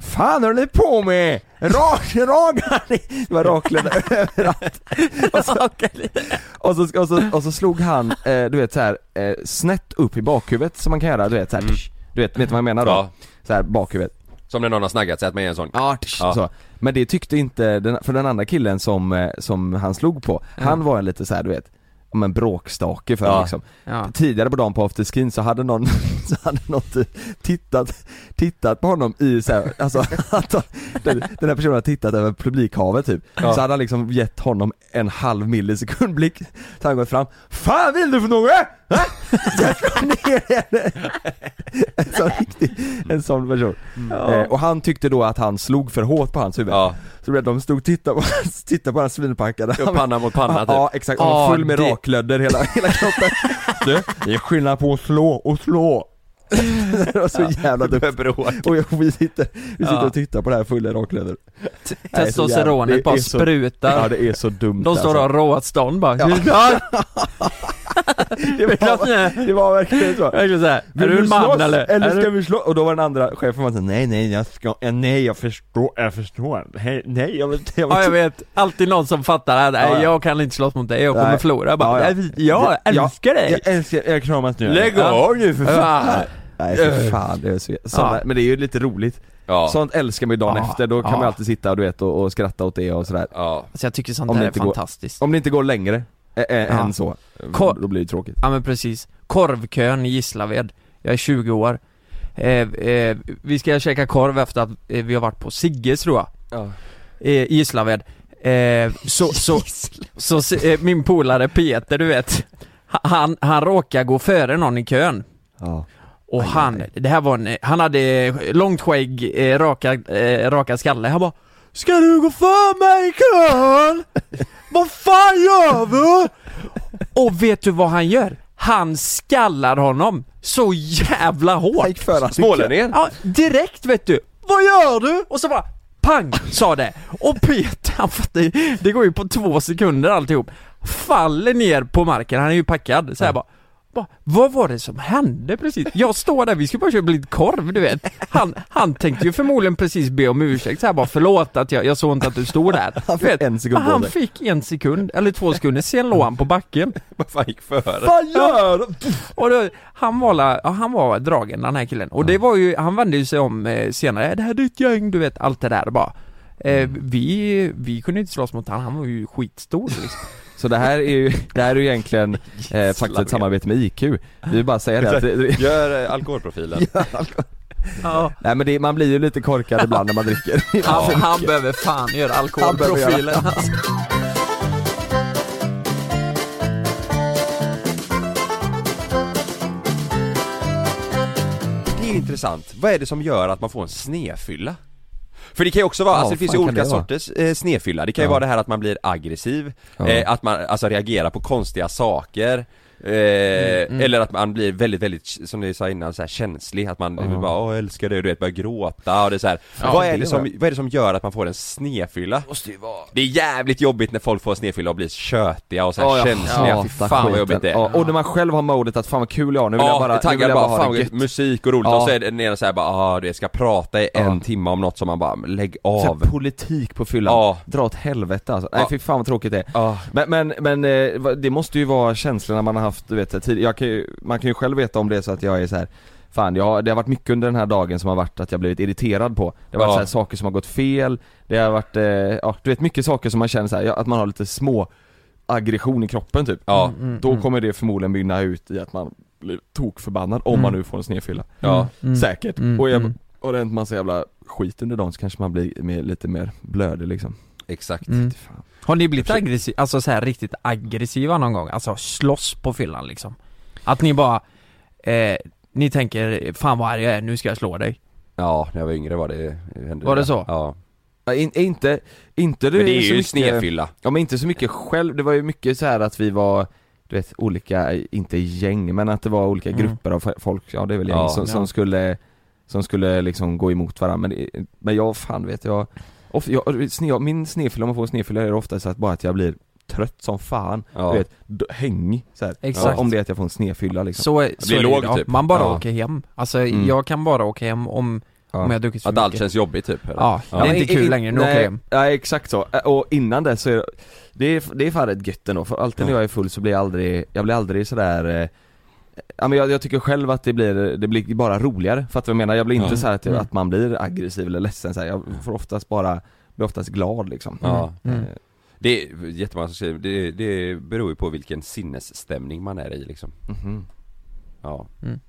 [SPEAKER 9] Fan håller ni på med? Rak, ragar ni? Det var raklödder överallt och så, och, så, och, så, och så slog han, eh, du vet såhär, eh, snett upp i bakhuvudet som man kan göra, du vet såhär
[SPEAKER 8] Mm.
[SPEAKER 9] Du vet, vet du vad jag menar då?
[SPEAKER 6] Ja.
[SPEAKER 9] Så här bakhuvudet
[SPEAKER 6] Som när någon har snaggat sig att man är en sån.
[SPEAKER 9] Ja,
[SPEAKER 6] Ja.
[SPEAKER 9] Så. Men det tyckte inte, den, för den andra killen som, eh, som han slog på, han var lite så här, du vet om en bråkstake för
[SPEAKER 6] Mm. Ja.
[SPEAKER 9] liksom.
[SPEAKER 8] Ja.
[SPEAKER 9] Tidigare på dagen på afterskin så hade någon, så hade någon typ tittat, tittat på honom i så här, alltså att han, den, den här personen hade tittat över publikhavet typ. Så hade han liksom gett honom en halv millisekund blick. Så hade han gått fram, Fan vill du för något? "Va?" Så jag slog ner henne. En sån riktig, en sån person. Eh, och han tyckte då att han slog för hårt på hans huvud. Så blev de stod och tittade på, tittade på hans svinpackade.
[SPEAKER 6] Ja, panna mot panna, typ.
[SPEAKER 9] Ja exakt, han
[SPEAKER 6] Ah,
[SPEAKER 9] var full med
[SPEAKER 6] det-
[SPEAKER 9] raklödder hela, hela kroppen. Du, det är skillnad på att slå och slå. det var så jävla dumt.
[SPEAKER 6] typ.
[SPEAKER 9] Och jag, vi sitter, vi sitter
[SPEAKER 8] Ja.
[SPEAKER 9] och tittar på det här fulla i raklödder. Nej, så jävla-
[SPEAKER 8] Testosteronet
[SPEAKER 9] det
[SPEAKER 8] bara
[SPEAKER 9] är så-
[SPEAKER 8] sprutar.
[SPEAKER 9] Ja det är så dumt alltså.
[SPEAKER 8] De står och har råatstånd bara.
[SPEAKER 9] Ja.
[SPEAKER 8] Ja.
[SPEAKER 9] det,
[SPEAKER 8] klart ni är.
[SPEAKER 9] var, det var verkligen så.
[SPEAKER 8] Verkligen såhär, är
[SPEAKER 9] Vill
[SPEAKER 8] du en man
[SPEAKER 9] slåss?
[SPEAKER 8] eller?
[SPEAKER 9] Eller
[SPEAKER 8] Är
[SPEAKER 9] ska
[SPEAKER 8] du-
[SPEAKER 9] vi slå? Och då var den andra chefen var så, nej nej jag ska, eh, nej jag förstår, jag förstår, nej, nej jag vill inte, jag vill
[SPEAKER 8] Ja jag
[SPEAKER 9] inte."
[SPEAKER 8] vet, alltid någon som fattar att nej,
[SPEAKER 9] Ja, ja.
[SPEAKER 8] jag kan inte slåss mot dig, jag kommer
[SPEAKER 9] Nej.
[SPEAKER 8] förlora bara,
[SPEAKER 9] Ja, ja.
[SPEAKER 8] "Nej, Jag,
[SPEAKER 9] Ja,
[SPEAKER 8] älskar dig!
[SPEAKER 9] Jag älskar, jag kramas nu.
[SPEAKER 8] Lägg
[SPEAKER 9] Ja.
[SPEAKER 8] av nu, för fan.
[SPEAKER 9] Ja. Nej för fan, det är så, såna,
[SPEAKER 8] Ja.
[SPEAKER 9] men det är ju lite roligt.
[SPEAKER 6] Ja.
[SPEAKER 9] Sånt älskar man ju dagen
[SPEAKER 8] Ja.
[SPEAKER 9] efter, då kan
[SPEAKER 8] Ja.
[SPEAKER 9] man alltid sitta och, du vet, och, och skratta åt det och sådär.
[SPEAKER 6] Ja.
[SPEAKER 8] Alltså jag tycker sånt
[SPEAKER 9] Om
[SPEAKER 8] här
[SPEAKER 9] det
[SPEAKER 8] är
[SPEAKER 9] inte går.
[SPEAKER 8] fantastiskt.
[SPEAKER 9] Om det inte går längre, ä, ä,
[SPEAKER 8] Ja.
[SPEAKER 9] än så,
[SPEAKER 8] Ko-
[SPEAKER 9] då blir det tråkigt.
[SPEAKER 8] Ja men precis, korvkön i Gislaved, jag är 20 år eh, eh, Vi ska käka korv efter att eh, vi har varit på Sigges tror jag eh, i Gislaved eh, Så, så, så, så eh, min polare Peter du vet ha- Han, han råkar gå före någon i kön
[SPEAKER 9] Ja.
[SPEAKER 8] och han, det här var en, han hade långt skägg, eh, raka, eh, raka skalle, han bara Ska du gå för mig i kön? Vad fan gör du? Och vet du vad han gör? Han skallar honom så jävla hårt!
[SPEAKER 9] Jag gick för att-
[SPEAKER 6] Smålänningen?
[SPEAKER 8] Ja, direkt vet du! Vad gör du? Och så bara pang sa det! Och Peter han fattar ju- det går ju på två sekunder alltihop Faller ner på marken, han är ju packad så här bara bara, vad var det som hände precis? Jag står där, vi skulle bara köpa lite korv du vet Han, han tänkte ju förmodligen precis be om ursäkt så här bara förlåt att jag, jag såg inte att du stod där
[SPEAKER 9] Han fick
[SPEAKER 8] Du vet,
[SPEAKER 9] en sekund
[SPEAKER 8] men
[SPEAKER 9] på
[SPEAKER 8] Han
[SPEAKER 9] sig.
[SPEAKER 8] fick en sekund, eller två sekunder, sen låg han på backen
[SPEAKER 6] Vad fan gick före?
[SPEAKER 9] Vad gör du?
[SPEAKER 8] och då, han var, la- ja, han var dragen den här killen, och det var ju, han vände ju sig om eh, senare, det här är ditt gäng, du vet allt det där bara eh, vi, vi kunde inte slåss mot han, han var ju skitstor liksom.
[SPEAKER 9] Så det här är ju, det här är ju egentligen eh, faktiskt ett samarbete med IQ. Vi vill bara säga det att det,
[SPEAKER 6] Gör eh, alkoholprofilen.
[SPEAKER 8] ja.
[SPEAKER 9] Nej men det, man blir ju lite korkad ibland när man dricker.
[SPEAKER 8] han, han behöver fan göra
[SPEAKER 9] Han behöver
[SPEAKER 8] alkoholprofilen
[SPEAKER 9] göra-
[SPEAKER 8] alltså.
[SPEAKER 6] Det är intressant. Vad är det som gör att man får en snefylla? För det kan ju också vara,
[SPEAKER 9] Ja,
[SPEAKER 6] alltså det finns ju
[SPEAKER 9] fan kan
[SPEAKER 6] olika
[SPEAKER 9] det vara?
[SPEAKER 6] sorters eh, snefylla. Det kan ju
[SPEAKER 9] Ja.
[SPEAKER 6] vara det här att man blir aggressiv,
[SPEAKER 9] Ja.
[SPEAKER 6] eh, att man alltså reagerar på konstiga saker. Eh,
[SPEAKER 9] Mm,
[SPEAKER 6] Eller att man blir väldigt, väldigt, som ni sa innan, så här känslig, att man bara åh jag älskar dig, du vet, börjar gråta och det är så här. vad, är
[SPEAKER 9] det
[SPEAKER 6] det som,
[SPEAKER 9] var-
[SPEAKER 6] vad är det som gör att man får en snefylla? Måste ju vara... Det är jävligt jobbigt när folk får snefylla och blir tjötiga och så här
[SPEAKER 8] Ja, ja.
[SPEAKER 6] känsliga,
[SPEAKER 9] Ja,
[SPEAKER 6] fy fan vad jobbigt det är
[SPEAKER 9] Ja, och när man själv har modet att fan vad kul jag har, nu vill
[SPEAKER 6] ja,
[SPEAKER 9] jag bara,
[SPEAKER 6] jag
[SPEAKER 9] nu vill
[SPEAKER 6] taggar
[SPEAKER 9] jag
[SPEAKER 6] bara,
[SPEAKER 9] bara
[SPEAKER 6] fan
[SPEAKER 9] ha det
[SPEAKER 6] vilket
[SPEAKER 9] gött.
[SPEAKER 6] musik och roligt
[SPEAKER 9] Ja.
[SPEAKER 6] och så är det den ena såhär bara ah, du ska prata i en
[SPEAKER 9] Ja.
[SPEAKER 6] timme om något som man bara, lägg
[SPEAKER 9] Så
[SPEAKER 6] av
[SPEAKER 9] här, politik på fyllan,
[SPEAKER 6] Ja.
[SPEAKER 9] dra åt helvete alltså. Nej
[SPEAKER 6] Ja.
[SPEAKER 9] fy fan vad tråkigt det är.
[SPEAKER 6] Ja.
[SPEAKER 9] Men, men, men eh, vad- det måste ju vara känslorna man har haft, du vet, tid. Jag kan ju, man kan ju själv veta om det är så att jag är så här. Fan, jag, har- det har varit mycket under den här dagen som har varit att jag blivit irriterad på. Det har varit
[SPEAKER 6] Ja.
[SPEAKER 9] så här saker som har gått fel, det har varit, eh, ja du vet mycket saker som man känner så här, ja, att man har lite små aggression i kroppen typ.
[SPEAKER 6] Ja.
[SPEAKER 8] Mm,
[SPEAKER 9] Då kommer det förmodligen mynna ut i att man blir tokförbannad om man nu får en snedfylla.
[SPEAKER 6] Ja.
[SPEAKER 9] Säkert.
[SPEAKER 8] Mm,
[SPEAKER 9] och, jag,
[SPEAKER 8] mm.
[SPEAKER 9] och det är inte massa jävla skit under dagen så kanske man blir mer, lite mer blödig liksom.
[SPEAKER 6] Exakt
[SPEAKER 8] Mm.
[SPEAKER 9] Fy fan.
[SPEAKER 8] Har ni blivit aggressiva, alltså så här riktigt aggressiva någon gång? Alltså slåss på fyllan liksom? Att ni bara, eh, ni tänker 'Fan vad arg jag är, nu ska jag slå dig'
[SPEAKER 6] Ja, när jag var yngre var det, hände
[SPEAKER 8] Var det så?
[SPEAKER 6] Ja,
[SPEAKER 9] Ja, in, inte, inte det,
[SPEAKER 6] men det är
[SPEAKER 9] så
[SPEAKER 6] ju
[SPEAKER 9] mycket,
[SPEAKER 6] snefylla
[SPEAKER 9] Ja men inte så mycket själv, det var ju mycket så här att vi var du vet, olika, inte gäng, men att det var olika
[SPEAKER 8] Mm.
[SPEAKER 9] grupper av folk, ja det är väl gäng,
[SPEAKER 6] Ja.
[SPEAKER 9] som,
[SPEAKER 8] Ja.
[SPEAKER 9] som skulle Som skulle liksom gå emot varandra, men, det- men jag fan vet jag, of, jag sne, jag- Min snedfylla, om man får snedfylla är det ofta så att bara att jag blir trött som fan,
[SPEAKER 6] Ja.
[SPEAKER 9] du vet, d- häng så här.
[SPEAKER 8] Exakt.
[SPEAKER 9] Om det är att jag får en snedfylla liksom
[SPEAKER 8] Så, är- så
[SPEAKER 6] blir
[SPEAKER 8] är det
[SPEAKER 6] låg,
[SPEAKER 8] idag.
[SPEAKER 6] typ.
[SPEAKER 8] man bara
[SPEAKER 9] Ja.
[SPEAKER 8] åker hem Alltså
[SPEAKER 9] Mm.
[SPEAKER 8] jag kan bara åka hem om,
[SPEAKER 9] Ja.
[SPEAKER 8] om jag har druckit för
[SPEAKER 6] Att allt
[SPEAKER 8] mycket
[SPEAKER 6] känns jobbigt typ eller?
[SPEAKER 8] Ja, det är
[SPEAKER 9] men
[SPEAKER 8] inte
[SPEAKER 9] i-
[SPEAKER 8] kul
[SPEAKER 9] i-
[SPEAKER 8] längre, nu
[SPEAKER 9] nej,
[SPEAKER 8] åker jag hem
[SPEAKER 9] Nej exakt så, Ä- och innan det så är det är, det är fan rätt gött ändå, för alltid när jag är full så blir jag aldrig, jag blir aldrig sådär eh, Ja men jag, jag tycker själv att det blir, det blir bara roligare, för att jag menar? Jag blir inte
[SPEAKER 6] Ja.
[SPEAKER 9] så här att, jag,
[SPEAKER 8] Mm.
[SPEAKER 9] att man blir aggressiv eller ledsen så här. jag får oftast bara, blir oftast glad liksom
[SPEAKER 6] Ja.
[SPEAKER 8] Mm.
[SPEAKER 9] Eh,
[SPEAKER 6] Det är jättemånga som skriver, det, det beror ju på vilken sinnesstämning man är i liksom
[SPEAKER 9] mhm,
[SPEAKER 6] Ja,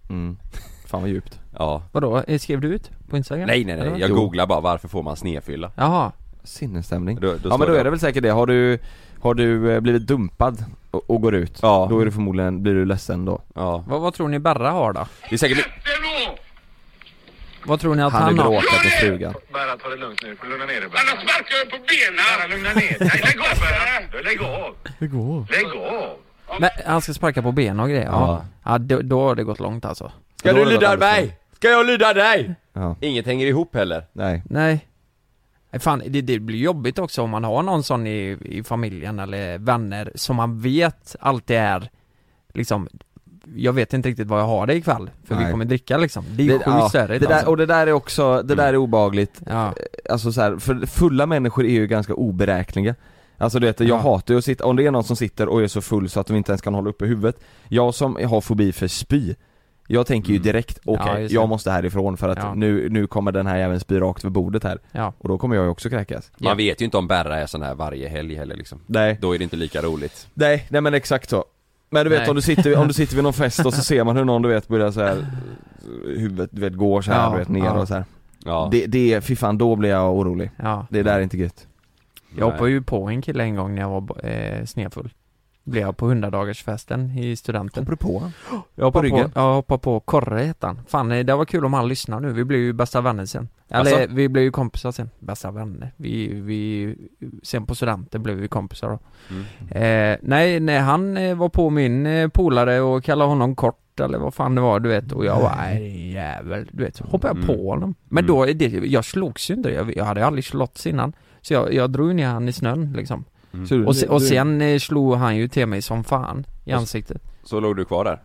[SPEAKER 9] mm. Fan vad djupt
[SPEAKER 6] ja
[SPEAKER 8] Vadå, Eh, skrev du ut på instagram?
[SPEAKER 6] Nej nej nej,
[SPEAKER 8] Eller?
[SPEAKER 6] jag
[SPEAKER 9] Jo.
[SPEAKER 6] googlar bara varför får man snefylla?
[SPEAKER 8] Jaha,
[SPEAKER 9] Sinnesstämning
[SPEAKER 6] Då- då
[SPEAKER 9] Ja
[SPEAKER 6] står
[SPEAKER 9] men då
[SPEAKER 6] det-
[SPEAKER 9] är det väl säkert det, har du, Har du eh, blivit dumpad och, och går ut, ja. då är du förmodligen, blir du ledsen då
[SPEAKER 6] Ja
[SPEAKER 8] Vad, vad tror ni Berra har då?
[SPEAKER 6] Det är säkert
[SPEAKER 8] Vad tror ni att han,
[SPEAKER 9] Han är
[SPEAKER 8] har?
[SPEAKER 9] bråkat med frugan
[SPEAKER 10] Bara ta det lugnt nu. Lugna ner dig bara. Annars sparkar jag på benen! Bara lugna ner dig. Nej, Lägg av bara. Lägg av.
[SPEAKER 8] Det går
[SPEAKER 10] Lägg av.
[SPEAKER 8] Men han ska sparka på ben och grejer? Ja, ja då, då har det gått långt alltså
[SPEAKER 6] Ska
[SPEAKER 8] Då har
[SPEAKER 6] du
[SPEAKER 8] det gått
[SPEAKER 6] lyda
[SPEAKER 8] alldeles för
[SPEAKER 6] mig?
[SPEAKER 8] långt.
[SPEAKER 6] Ska jag lyda dig?
[SPEAKER 9] Ja.
[SPEAKER 6] Inget hänger ihop heller
[SPEAKER 9] Nej
[SPEAKER 8] Nej Nej, Fan, det, det blir jobbigt också om man har någon sån i, i familjen eller vänner som man vet alltid är liksom Jag vet inte riktigt vad jag har det ikväll, för
[SPEAKER 9] Nej.
[SPEAKER 8] vi kommer dricka liksom Det är ju sjukt
[SPEAKER 9] ja,
[SPEAKER 8] störigt
[SPEAKER 9] det där,
[SPEAKER 8] alltså.
[SPEAKER 9] Och det där är också, det där är obehagligt
[SPEAKER 8] Ja.
[SPEAKER 9] Alltså så här, för fulla människor är ju ganska oberäkneliga Alltså du vet, jag
[SPEAKER 8] Ja.
[SPEAKER 9] hatar ju att sitta, om det är någon som sitter och är så full så att de inte ens kan hålla uppe huvudet Jag som har fobi för spy Jag tänker ju direkt, okej,
[SPEAKER 8] Mm. Ja, just det.
[SPEAKER 9] jag måste härifrån för att
[SPEAKER 8] Ja.
[SPEAKER 9] nu, nu kommer den här jäveln spy rakt vid bordet här
[SPEAKER 8] Ja.
[SPEAKER 9] Och då kommer jag ju också kräkas
[SPEAKER 6] Man vet ju inte om Berra är sån här varje helg heller liksom
[SPEAKER 9] Nej
[SPEAKER 6] Då är det inte lika roligt
[SPEAKER 9] Nej, nej men exakt så Men du vet
[SPEAKER 6] Nej.
[SPEAKER 9] om du sitter, om du sitter vid någon fest och så ser man hur någon du vet börjar så här Huvudet du vet går så här,
[SPEAKER 8] Ja,
[SPEAKER 9] du vet ner
[SPEAKER 8] ja.
[SPEAKER 9] och så här.
[SPEAKER 6] Ja.
[SPEAKER 9] Det, det, fy fan då blir jag orolig
[SPEAKER 8] Ja.
[SPEAKER 9] Det där är inte gött
[SPEAKER 8] Jag hoppade ju på en kille en gång när jag var eh, snedfull Blev jag på 100-dagarsfesten i studenten
[SPEAKER 9] Hoppade du på
[SPEAKER 8] Jag hoppade
[SPEAKER 9] På
[SPEAKER 8] på,
[SPEAKER 9] ryggen?
[SPEAKER 8] jag hoppade på Korre hette han Fan eh, det var kul om han lyssnar nu, vi blev ju bästa vänner sen Eller
[SPEAKER 6] Alltså?
[SPEAKER 8] vi blev ju kompisar sen, bästa vänner Vi, vi, sen på studenten blev vi kompisar då eh, Nej, nej han eh, var på min eh, polare och kallade honom kort eller vad fan det var du vet och jag var nej jävel du vet så hoppade jag på honom Men då, är det, jag slogs ju inte, jag, jag hade aldrig slåtts innan Så jag, jag drog ner han i snön liksom
[SPEAKER 9] Så du-
[SPEAKER 8] och, se, och
[SPEAKER 9] du-
[SPEAKER 8] sen eh, slog han ju till mig som fan i
[SPEAKER 6] Och s-
[SPEAKER 8] ansiktet
[SPEAKER 6] Så låg du kvar där?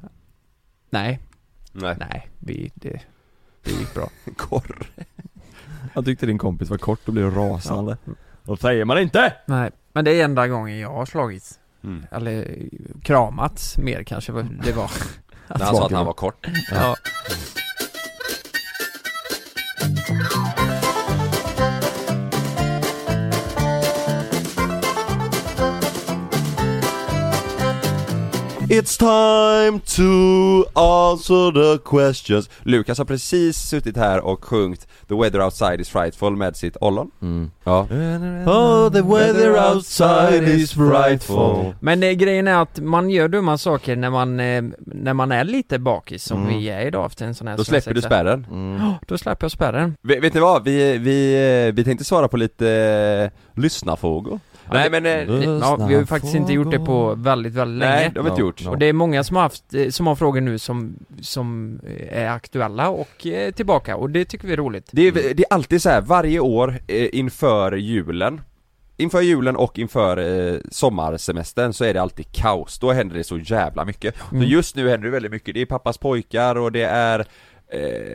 [SPEAKER 8] Nej,
[SPEAKER 6] Nej
[SPEAKER 8] nej, vi, det, det gick bra
[SPEAKER 6] Korre
[SPEAKER 9] Han tyckte din kompis var kort och blev rasande Då säger man inte!
[SPEAKER 8] Nej, men det är enda gången jag har slagits
[SPEAKER 6] Mm.
[SPEAKER 8] Eller eh, kramats mer kanske vad det var
[SPEAKER 6] När han sa att han var kort
[SPEAKER 8] Ja,
[SPEAKER 6] It's time to answer the questions Lukas har precis suttit här och sjungit The weather outside is frightful med sitt ollon Mm. Eh, Ja
[SPEAKER 9] Oh the
[SPEAKER 6] weather outside is frightful.
[SPEAKER 8] Men eh, grejen är att man gör dumma saker när man, eh, när man är lite bakis som vi är idag efter en sån här
[SPEAKER 6] Mm. Då släpper du
[SPEAKER 8] svensexa.
[SPEAKER 6] spärren
[SPEAKER 8] Ja, Då släpper jag spärren
[SPEAKER 6] Ve- Vet ni vad? Vi, vi, eh, vi tänkte svara på lite eh, lyssnarfrågor Nej men, eh,
[SPEAKER 8] Ja, vi har ju faktiskt inte gjort det på väldigt, väldigt länge
[SPEAKER 6] nej det har vi inte gjort
[SPEAKER 8] Och det är många som har haft, eh, som har frågor nu som, som eh, är aktuella och eh, tillbaka och det tycker vi är roligt
[SPEAKER 6] Det är, det är alltid så här varje år eh, inför julen Inför julen och inför eh, sommarsemestern så är det alltid kaos, då händer det så jävla mycket
[SPEAKER 8] Mm.
[SPEAKER 6] Så just nu händer det väldigt mycket, det är pappas pojkar och det är eh,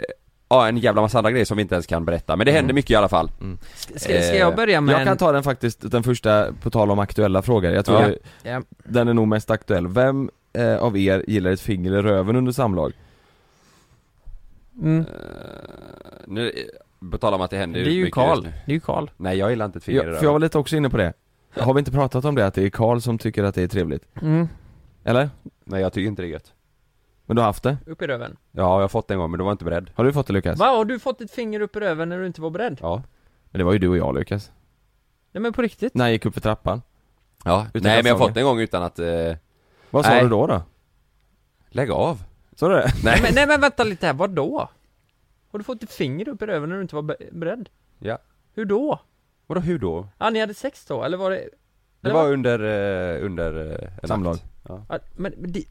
[SPEAKER 6] Ja en jävla massa andra grejer som vi inte ens kan berätta, men det
[SPEAKER 8] Mm.
[SPEAKER 6] händer mycket i alla fall
[SPEAKER 8] Ska, ska
[SPEAKER 6] Eh,
[SPEAKER 8] jag börja med
[SPEAKER 9] Jag kan
[SPEAKER 8] en-
[SPEAKER 9] ta den faktiskt, den första, på tal om aktuella frågor Jag tror
[SPEAKER 6] Ja.
[SPEAKER 9] det-
[SPEAKER 8] Ja.
[SPEAKER 9] den är nog mest aktuell Vem eh, av er gillar ett finger i röven under samlag?
[SPEAKER 8] Mm.
[SPEAKER 6] Nu, eh, på tal om att det händer
[SPEAKER 8] Det är ju
[SPEAKER 6] mycket
[SPEAKER 8] Karl,
[SPEAKER 6] just nu.
[SPEAKER 8] det är ju Karl
[SPEAKER 6] Nej jag gillar inte ett finger i
[SPEAKER 9] Ja, för jag
[SPEAKER 6] röven.
[SPEAKER 9] var lite också inne på det Har vi inte pratat om det, att det är Karl som tycker att det är trevligt?
[SPEAKER 8] mm.
[SPEAKER 9] Eller?
[SPEAKER 6] Nej jag tycker inte det är gött
[SPEAKER 9] Men du har haft det?
[SPEAKER 8] Upp i röven
[SPEAKER 6] Ja jag har fått det en gång men du var inte beredd
[SPEAKER 9] Har du fått det Lukas?
[SPEAKER 8] Va? Har du fått ett finger upp i röven när du inte var beredd?
[SPEAKER 6] Alltså. Ja
[SPEAKER 9] Men det var ju du och jag Lukas
[SPEAKER 8] Nej men på riktigt?
[SPEAKER 9] När jag gick upp för trappan
[SPEAKER 6] Ja,
[SPEAKER 9] Utan
[SPEAKER 6] nej men jag har
[SPEAKER 9] kalsonger.
[SPEAKER 6] fått det en gång utan att, eh,
[SPEAKER 9] Vad sa
[SPEAKER 6] Nej.
[SPEAKER 9] du då då?
[SPEAKER 6] lägg av
[SPEAKER 9] Sa du det?
[SPEAKER 8] Nej men, nej, men vänta lite här, vadå? Har du fått ett finger upp i röven när du inte var be- beredd?
[SPEAKER 6] Ja,
[SPEAKER 8] Hur då?
[SPEAKER 6] vadå hur då?
[SPEAKER 8] Ja ni hade sex då, eller var det?
[SPEAKER 6] Det
[SPEAKER 8] Eller
[SPEAKER 6] var
[SPEAKER 8] vad?
[SPEAKER 6] under, eh, under eh, en
[SPEAKER 9] Samlag.
[SPEAKER 6] akt. Ja.
[SPEAKER 8] Ja, men, men det,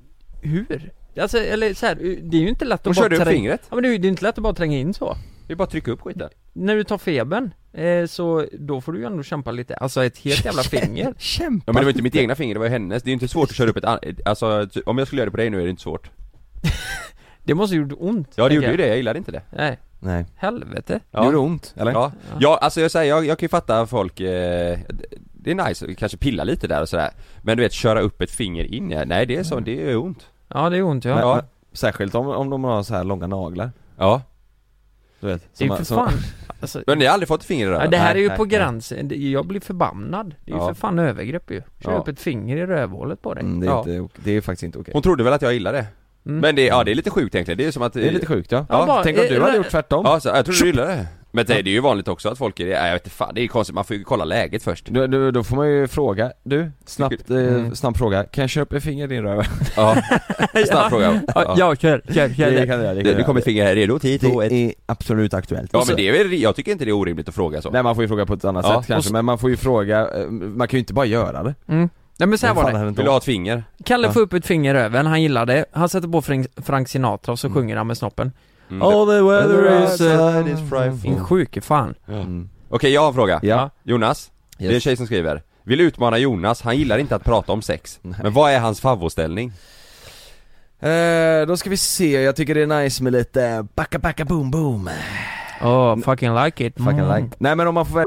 [SPEAKER 8] hur? Alltså eller så här, det är ju inte lätt att
[SPEAKER 6] Hon
[SPEAKER 8] bara
[SPEAKER 6] körde upp
[SPEAKER 8] tränga-
[SPEAKER 6] fingret.
[SPEAKER 8] Ja men det är ju det är inte lätt att bara tränga in så
[SPEAKER 6] Det är bara att trycka upp skiten
[SPEAKER 8] När du tar febern, eh, så då får du ju ändå kämpa lite, alltså ett helt jävla finger
[SPEAKER 9] Kämpa!
[SPEAKER 6] Ja men det var inte mitt egna finger, det var ju hennes. Det är ju inte svårt att köra upp ett an- alltså ty- om jag skulle göra det på dig nu är det inte svårt
[SPEAKER 8] Det måste ju gjort ont
[SPEAKER 6] Ja det
[SPEAKER 8] tänker
[SPEAKER 6] gjorde ju
[SPEAKER 8] jag.
[SPEAKER 6] det, jag gillade inte det
[SPEAKER 8] Nej,
[SPEAKER 9] Nej,
[SPEAKER 8] helvete
[SPEAKER 9] ja. gjorde det ont? Eller?
[SPEAKER 6] Ja, ja alltså jag säger, jag, jag kan ju fatta folk, eh, det är nice, att kanske pilla lite där och sådär Men du vet, köra upp ett finger in, ja. nej det är så, det är ont
[SPEAKER 8] Ja det är ont ja,
[SPEAKER 9] Men,
[SPEAKER 8] ja.
[SPEAKER 9] men, Särskilt om, om de har så här långa naglar
[SPEAKER 6] Ja,
[SPEAKER 9] Du vet,
[SPEAKER 8] Det är
[SPEAKER 9] som-
[SPEAKER 8] ju för
[SPEAKER 9] som-
[SPEAKER 8] fan alltså,
[SPEAKER 6] men ni har aldrig fått ett finger i
[SPEAKER 8] ja,
[SPEAKER 6] röven?
[SPEAKER 8] Det här
[SPEAKER 9] nej,
[SPEAKER 8] är ju
[SPEAKER 9] nej,
[SPEAKER 8] på
[SPEAKER 9] nej.
[SPEAKER 8] gränsen, Det- jag blir förbannad Det är ju
[SPEAKER 6] Ja.
[SPEAKER 8] för fan övergrepp ju Kör
[SPEAKER 6] Ja.
[SPEAKER 8] upp ett finger i rövhålet på dig
[SPEAKER 9] mm, det, är
[SPEAKER 6] Ja.
[SPEAKER 9] inte, ok- det är faktiskt inte okej
[SPEAKER 6] Hon trodde väl att jag gillade det?
[SPEAKER 8] Mm.
[SPEAKER 6] Men det, ja det är lite sjukt egentligen, det är som att
[SPEAKER 9] Det är lite sjukt ja,
[SPEAKER 8] Ja, bara-
[SPEAKER 9] Tänk om
[SPEAKER 8] eh,
[SPEAKER 9] du hade
[SPEAKER 8] men-
[SPEAKER 9] gjort tvärtom
[SPEAKER 6] Ja, så, jag trodde du gillade det Men det är ju vanligt också att folk är, nej, jag vet inte fan, det är konstigt, man får ju kolla läget först
[SPEAKER 9] Då, då, då får man ju fråga, du, snabbt, eh,
[SPEAKER 6] Mm.
[SPEAKER 9] snabb fråga, kan jag köpa ett finger i din röv?
[SPEAKER 6] Ja, snabb fråga
[SPEAKER 9] Ja, ja, kör, kör, kör. Det kan jag, det kan jag.
[SPEAKER 6] Du kommer ett finger här, redo, 10, 2, 1
[SPEAKER 9] är absolut aktuellt
[SPEAKER 6] Ja men det är väl, jag tycker inte det är orimligt att fråga så
[SPEAKER 9] Nej man får ju fråga på ett annat
[SPEAKER 6] Ja.
[SPEAKER 9] sätt kanske, men man får ju fråga, eh, man kan ju inte bara göra det
[SPEAKER 8] Mm. Nej men så här
[SPEAKER 9] Vad fan
[SPEAKER 8] var
[SPEAKER 9] är det
[SPEAKER 8] det.
[SPEAKER 9] då? Vill du ha ett
[SPEAKER 6] finger?
[SPEAKER 8] Kalle
[SPEAKER 9] Ja.
[SPEAKER 8] får upp ett finger i röven, han gillar det. Han sätter på Frank- Frank Sinatra och så sjunger han med snoppen.
[SPEAKER 6] Mm.
[SPEAKER 8] All the weather is...
[SPEAKER 6] outside is frightful.
[SPEAKER 9] Mm.
[SPEAKER 8] Din sjuke fan.
[SPEAKER 6] Okej, jag har en fråga.
[SPEAKER 8] Ja.
[SPEAKER 6] Jonas, det är en
[SPEAKER 8] Yes.
[SPEAKER 6] tjej som skriver. Vill utmana Jonas, han gillar inte att prata om sex. Men vad är hans favvoställning?
[SPEAKER 9] Eh, då ska vi se, jag tycker det är nice med lite backa backa boom boom
[SPEAKER 8] Oh, fucking like it.
[SPEAKER 9] Mm. Fucking
[SPEAKER 8] Mm.
[SPEAKER 9] like Nej men om man får välja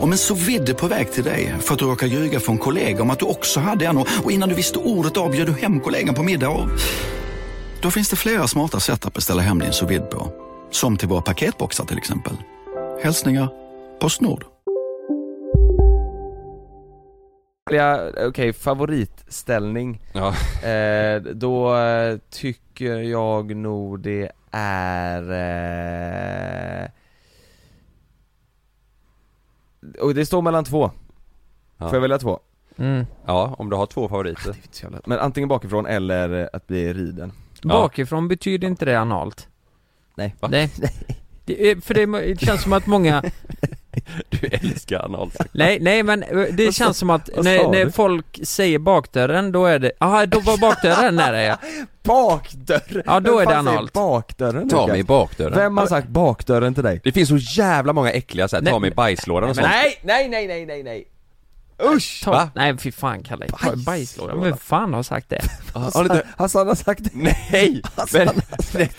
[SPEAKER 11] Om en så vidde på väg till dig för att du råkar ljuga från kollega om att du också hade en och och innan du visste ordet av bjöd du hem kollegan på middag och... Då finns det flera smarta sätt att beställa hem din sous vide på. Som till våra paketboxar till exempel. Hälsningar Postnord.
[SPEAKER 9] okej, favoritställning eh, Då eh, tycker jag nog det är... Eh... Och det står mellan två
[SPEAKER 6] Ja.
[SPEAKER 9] Får jag välja två?
[SPEAKER 8] Mm.
[SPEAKER 6] Ja, om du har två favoriter.
[SPEAKER 9] Men antingen bakifrån eller att bli riden
[SPEAKER 8] Bakifrån betyder inte det analt.
[SPEAKER 9] Nej.
[SPEAKER 8] Nej. Det, är- för det, är- det känns som att många...
[SPEAKER 6] Du älskar analsex.
[SPEAKER 8] Nej, nej men eh, det
[SPEAKER 6] Vad sa-
[SPEAKER 8] känns som att
[SPEAKER 6] vad
[SPEAKER 8] när,
[SPEAKER 6] sa
[SPEAKER 8] när
[SPEAKER 6] du?
[SPEAKER 8] folk säger bakdörren, då är det... Jaha, då var bakdörren nära ja.
[SPEAKER 9] Bakdörren?
[SPEAKER 8] Ja, då
[SPEAKER 9] Vem
[SPEAKER 8] är det
[SPEAKER 9] fan säger
[SPEAKER 8] analt.
[SPEAKER 9] Bakdörren
[SPEAKER 6] Ta
[SPEAKER 9] Lukas?
[SPEAKER 6] mig i bakdörren.
[SPEAKER 9] Vem har sagt bakdörren till dig?
[SPEAKER 6] Det finns så jävla många äckliga såhär, ta mig i bajslådan och sånt.
[SPEAKER 9] Nej, nej, nej, nej, nej, nej. Usch!
[SPEAKER 8] Ta, nej fy fan Kalle, ta bajslåda. Vem fan har sagt det?
[SPEAKER 6] Har du inte-
[SPEAKER 9] Hassan har sagt det.
[SPEAKER 6] Nej! Men,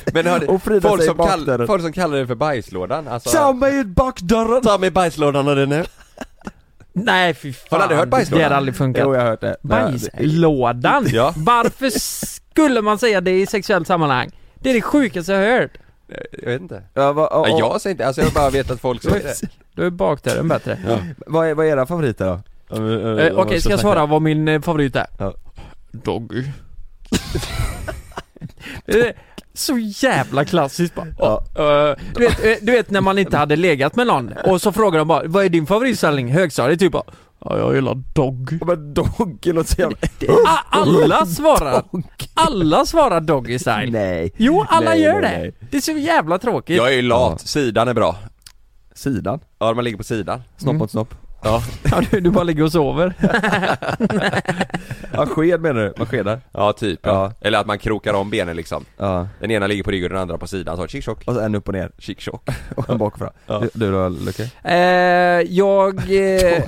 [SPEAKER 6] men hörde,
[SPEAKER 9] Och Frida
[SPEAKER 6] folk,
[SPEAKER 9] säger
[SPEAKER 6] som kall,
[SPEAKER 9] bakdörren.
[SPEAKER 6] folk som kallar det för bajslådan, alltså.
[SPEAKER 9] Ta mig i bakdörren!
[SPEAKER 6] Ta mig i bajslådan och det nu.
[SPEAKER 8] Nej fy fan.
[SPEAKER 6] Har du aldrig hört bajslådan?
[SPEAKER 8] Det har aldrig funkat.
[SPEAKER 9] Jo, jag har hört det. Men-
[SPEAKER 8] Bajslådan?
[SPEAKER 6] Ja.
[SPEAKER 8] Varför skulle man säga det i sexuellt sammanhang? Det är det sjukaste jag har hört.
[SPEAKER 6] Jag vet inte.
[SPEAKER 9] Ja, va,
[SPEAKER 6] Ja, jag säger inte, alltså jag bara vet att folk säger det.
[SPEAKER 8] Då är bakdörren bättre.
[SPEAKER 9] Ja. Vad, är, vad är era favoriter då?
[SPEAKER 8] Eh, Okej, ska jag svara vad min eh, favorit är? Doggy. Eh, Så jävla klassiskt bara. Eh, du, vet, eh, du vet när man inte hade legat med någon och så frågar de bara Vad är din favoritställning? Högstadiet typ bara Ja, jag gillar dogg.
[SPEAKER 9] Men dogg låter så jävla...
[SPEAKER 8] A- Alla svarar Alla svarar doggy style.
[SPEAKER 9] Nej.
[SPEAKER 8] Jo, alla
[SPEAKER 6] Nej, nej,
[SPEAKER 8] gör det.
[SPEAKER 6] nej.
[SPEAKER 8] Det är så jävla tråkigt.
[SPEAKER 6] Jag är ju lat, sidan är bra.
[SPEAKER 9] Sidan?
[SPEAKER 6] Ja, man ligger på sidan.
[SPEAKER 8] Mm.
[SPEAKER 9] Snopp mot snopp.
[SPEAKER 6] Ja.
[SPEAKER 8] Ja, du, du bara ligger och sover.
[SPEAKER 9] Ja, sked menar du? Man skedar?
[SPEAKER 6] Ja, typ ja. Eller att man krokar om benen liksom.
[SPEAKER 9] Ja.
[SPEAKER 6] Den ena ligger på ryggen och den andra på sidan, så tjick tjock.
[SPEAKER 9] Och så en upp och ner.
[SPEAKER 6] Tjick tjock.
[SPEAKER 9] Och en bakifrån.
[SPEAKER 6] Ja.
[SPEAKER 9] Du, du då Luke?
[SPEAKER 8] Eh, jag... Eh,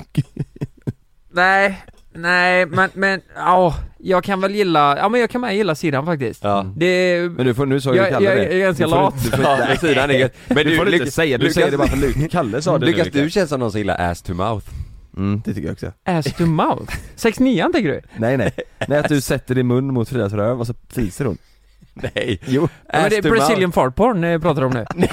[SPEAKER 8] nej, nej men, men, ja, jag kan väl gilla, ja men jag kan med gilla sidan faktiskt.
[SPEAKER 9] Mm.
[SPEAKER 8] Det,
[SPEAKER 9] Men du får, nu sa ju
[SPEAKER 8] jag,
[SPEAKER 9] Kalle
[SPEAKER 8] jag,
[SPEAKER 9] det.
[SPEAKER 8] jag är ganska
[SPEAKER 9] Du får
[SPEAKER 8] lat.
[SPEAKER 9] inte- du får
[SPEAKER 6] Ja,
[SPEAKER 9] inte-
[SPEAKER 6] men sidan är gött. Men
[SPEAKER 9] Det
[SPEAKER 6] du,
[SPEAKER 9] får du inte
[SPEAKER 6] Lukas-
[SPEAKER 9] säga, du
[SPEAKER 6] Lukas-
[SPEAKER 9] säger det bara för Luke. Kalle sa det nu,
[SPEAKER 6] Lukas, du
[SPEAKER 9] Lukas.
[SPEAKER 6] känns som någon som gillar ass to mouth.
[SPEAKER 9] Mm, det tycker jag också.
[SPEAKER 8] Ass to mouth? 6-9 tänker du?
[SPEAKER 9] Nej nej, nej att du sätter din mun mot Fridas röv och så fiser hon
[SPEAKER 6] Nej!
[SPEAKER 9] Jo!
[SPEAKER 8] Ja, men det är Brazilian fart porn eh, pratar du om nu.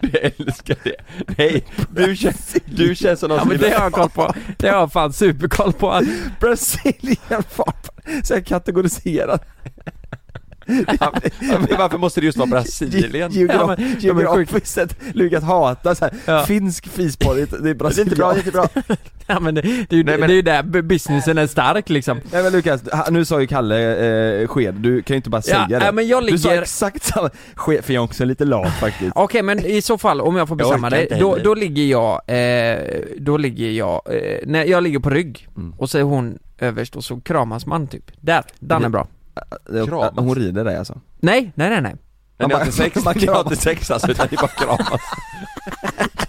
[SPEAKER 6] du älskar det. Nej, du känns, du känns som någon
[SPEAKER 8] Ja
[SPEAKER 6] som
[SPEAKER 8] men det har jag koll på, det har jag fan superkoll på.
[SPEAKER 9] Brazilian fart, såhär kategoriserad
[SPEAKER 6] men varför måste det just vara Brasilien?
[SPEAKER 9] Geograf, geografiskt sett, Lukas hatar så här. finsk fisporr, det- det är Brasilien.
[SPEAKER 8] bra, det är inte
[SPEAKER 9] bra.
[SPEAKER 8] ja, men det, det, är ju, det är ju där bu- businessen är stark liksom.
[SPEAKER 9] Nej men Lukas, ha- nu sa ju Kalle eh, sked, du kan ju inte bara säga
[SPEAKER 8] Ja,
[SPEAKER 9] det.
[SPEAKER 8] nej, men jag
[SPEAKER 9] Du sa
[SPEAKER 8] ligger-
[SPEAKER 9] exakt samma, sked, för jag är också lite lat faktiskt.
[SPEAKER 8] Okej men i så fall, om jag får
[SPEAKER 9] Jag orkar
[SPEAKER 8] bestämma det,
[SPEAKER 9] inte
[SPEAKER 8] då,
[SPEAKER 9] heller.
[SPEAKER 8] då ligger jag, eh, då ligger jag, eh, nej jag ligger på rygg
[SPEAKER 9] Mm.
[SPEAKER 8] och så är hon överst och så kramas man typ. Där, den är bra.
[SPEAKER 9] Kramas. Hon rider dig alltså?
[SPEAKER 8] Nej, nej nej nej.
[SPEAKER 6] Men ni har inte sex, ni har inte sex alltså utan ni bara kramas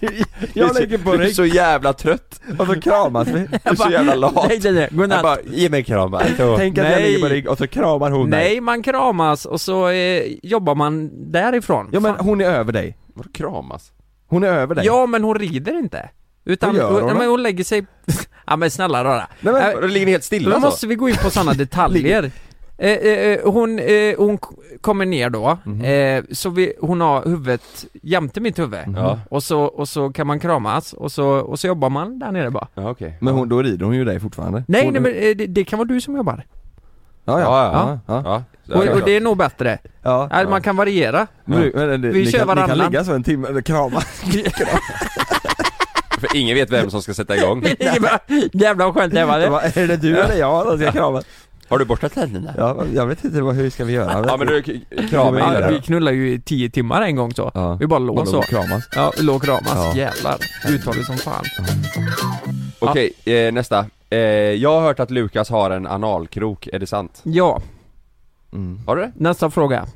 [SPEAKER 9] Jag
[SPEAKER 6] Du är så-
[SPEAKER 9] lägger på
[SPEAKER 6] Du är
[SPEAKER 9] rygg.
[SPEAKER 6] så jävla trött
[SPEAKER 9] Varför kramas vi? Du
[SPEAKER 6] är så jävla lat
[SPEAKER 8] Nej, nej, nej.
[SPEAKER 6] Jag bara, ge mig en kram här.
[SPEAKER 9] Tänk att jag
[SPEAKER 8] Nej.
[SPEAKER 9] ligger på rygg och så kramar hon dig.
[SPEAKER 8] Nej, man kramas och så eh, jobbar man därifrån.
[SPEAKER 9] Ja men hon är över dig.
[SPEAKER 6] Vadå kramas?
[SPEAKER 9] Hon är över dig.
[SPEAKER 8] Ja men hon rider inte. Utan
[SPEAKER 9] Vad gör
[SPEAKER 8] hon,
[SPEAKER 9] hon
[SPEAKER 8] nej, men
[SPEAKER 9] då?
[SPEAKER 8] hon lägger sig... ja men snälla rara.
[SPEAKER 9] Nej, men-
[SPEAKER 8] äh,
[SPEAKER 9] Då ligger ni helt stilla
[SPEAKER 8] Då
[SPEAKER 9] så?
[SPEAKER 8] måste vi gå in på sådana detaljer.
[SPEAKER 9] Ligger-
[SPEAKER 8] Eh, eh, eh, hon, eh, hon k- kommer ner då,
[SPEAKER 9] Mhm.
[SPEAKER 8] eh, så vi, hon har huvudet jämte mitt huvud.
[SPEAKER 9] Ja.
[SPEAKER 8] Och, så, och så kan man kramas och så, och så jobbar man där nere bara.
[SPEAKER 6] Ja okej
[SPEAKER 9] Men hon, då rider hon ju dig fortfarande.
[SPEAKER 8] Nej
[SPEAKER 9] Hon-
[SPEAKER 8] nej men eh, det, det kan vara du som jobbar.
[SPEAKER 9] Ja, ja, ja, ja.
[SPEAKER 8] Och, och det är nog bättre.
[SPEAKER 9] Ja,
[SPEAKER 8] Att Äh, Man kan variera.
[SPEAKER 9] Men, men, ni,
[SPEAKER 8] vi
[SPEAKER 9] ni
[SPEAKER 8] kör
[SPEAKER 9] kan,
[SPEAKER 8] varannan.
[SPEAKER 9] Ni kan ligga så en timme, eller krama.
[SPEAKER 6] För ingen vet vem som ska sätta igång
[SPEAKER 8] Jävla skönt det var det.
[SPEAKER 9] Vad, Är det du eller jag som ska krama?
[SPEAKER 6] Har du borstat tänderna?
[SPEAKER 9] Ja, jag vet inte vad, hur ska vi göra?
[SPEAKER 6] Ja men du k- krama in
[SPEAKER 8] Ja,
[SPEAKER 6] där
[SPEAKER 8] Vi knullar ju i tio timmar en gång så. Vi bara låg
[SPEAKER 9] Och
[SPEAKER 8] så.
[SPEAKER 9] låg kramas.
[SPEAKER 8] Ja, vi låg och kramas.
[SPEAKER 6] Ja.
[SPEAKER 8] Jävlar. Uttaget som fan.
[SPEAKER 6] Okej, eh, nästa eh, Jag har hört att Lukas har en analkrok, är det sant?
[SPEAKER 8] Ja,
[SPEAKER 6] Har du det?
[SPEAKER 8] nästa fråga.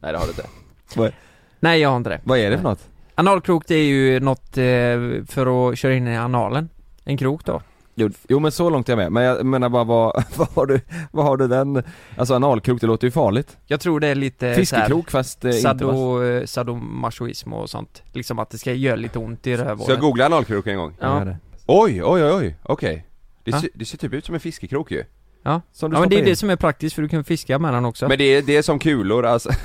[SPEAKER 6] Nej det har du inte
[SPEAKER 8] Nej, jag har inte det.
[SPEAKER 9] Vad är det för något?
[SPEAKER 8] Analkrok det är ju något eh, för att köra in i analen. En krok då.
[SPEAKER 9] Jo, jo men så långt är jag med, men jag menar bara vad, vad har du, vad har du den, alltså analkrok det låter ju farligt
[SPEAKER 8] Jag tror det är lite
[SPEAKER 9] Fiskekrok
[SPEAKER 8] såhär,
[SPEAKER 9] fast eh, inte fast.
[SPEAKER 8] sado, eh, sadomasochism och sånt. Liksom att det ska göra lite ont i rövhålet.
[SPEAKER 6] Ska jag googla analkrok en gång?
[SPEAKER 8] Ja. Gör det.
[SPEAKER 6] Oj, oj, oj, oj, okej det,
[SPEAKER 8] Ja.
[SPEAKER 6] ser- det ser typ ut som en fiskekrok ju
[SPEAKER 8] Ja,
[SPEAKER 6] Som du
[SPEAKER 8] ja men det
[SPEAKER 6] stoppar
[SPEAKER 8] är det
[SPEAKER 6] in.
[SPEAKER 8] som är praktiskt för du kan fiska med den också.
[SPEAKER 6] Men det är, det är som kulor alltså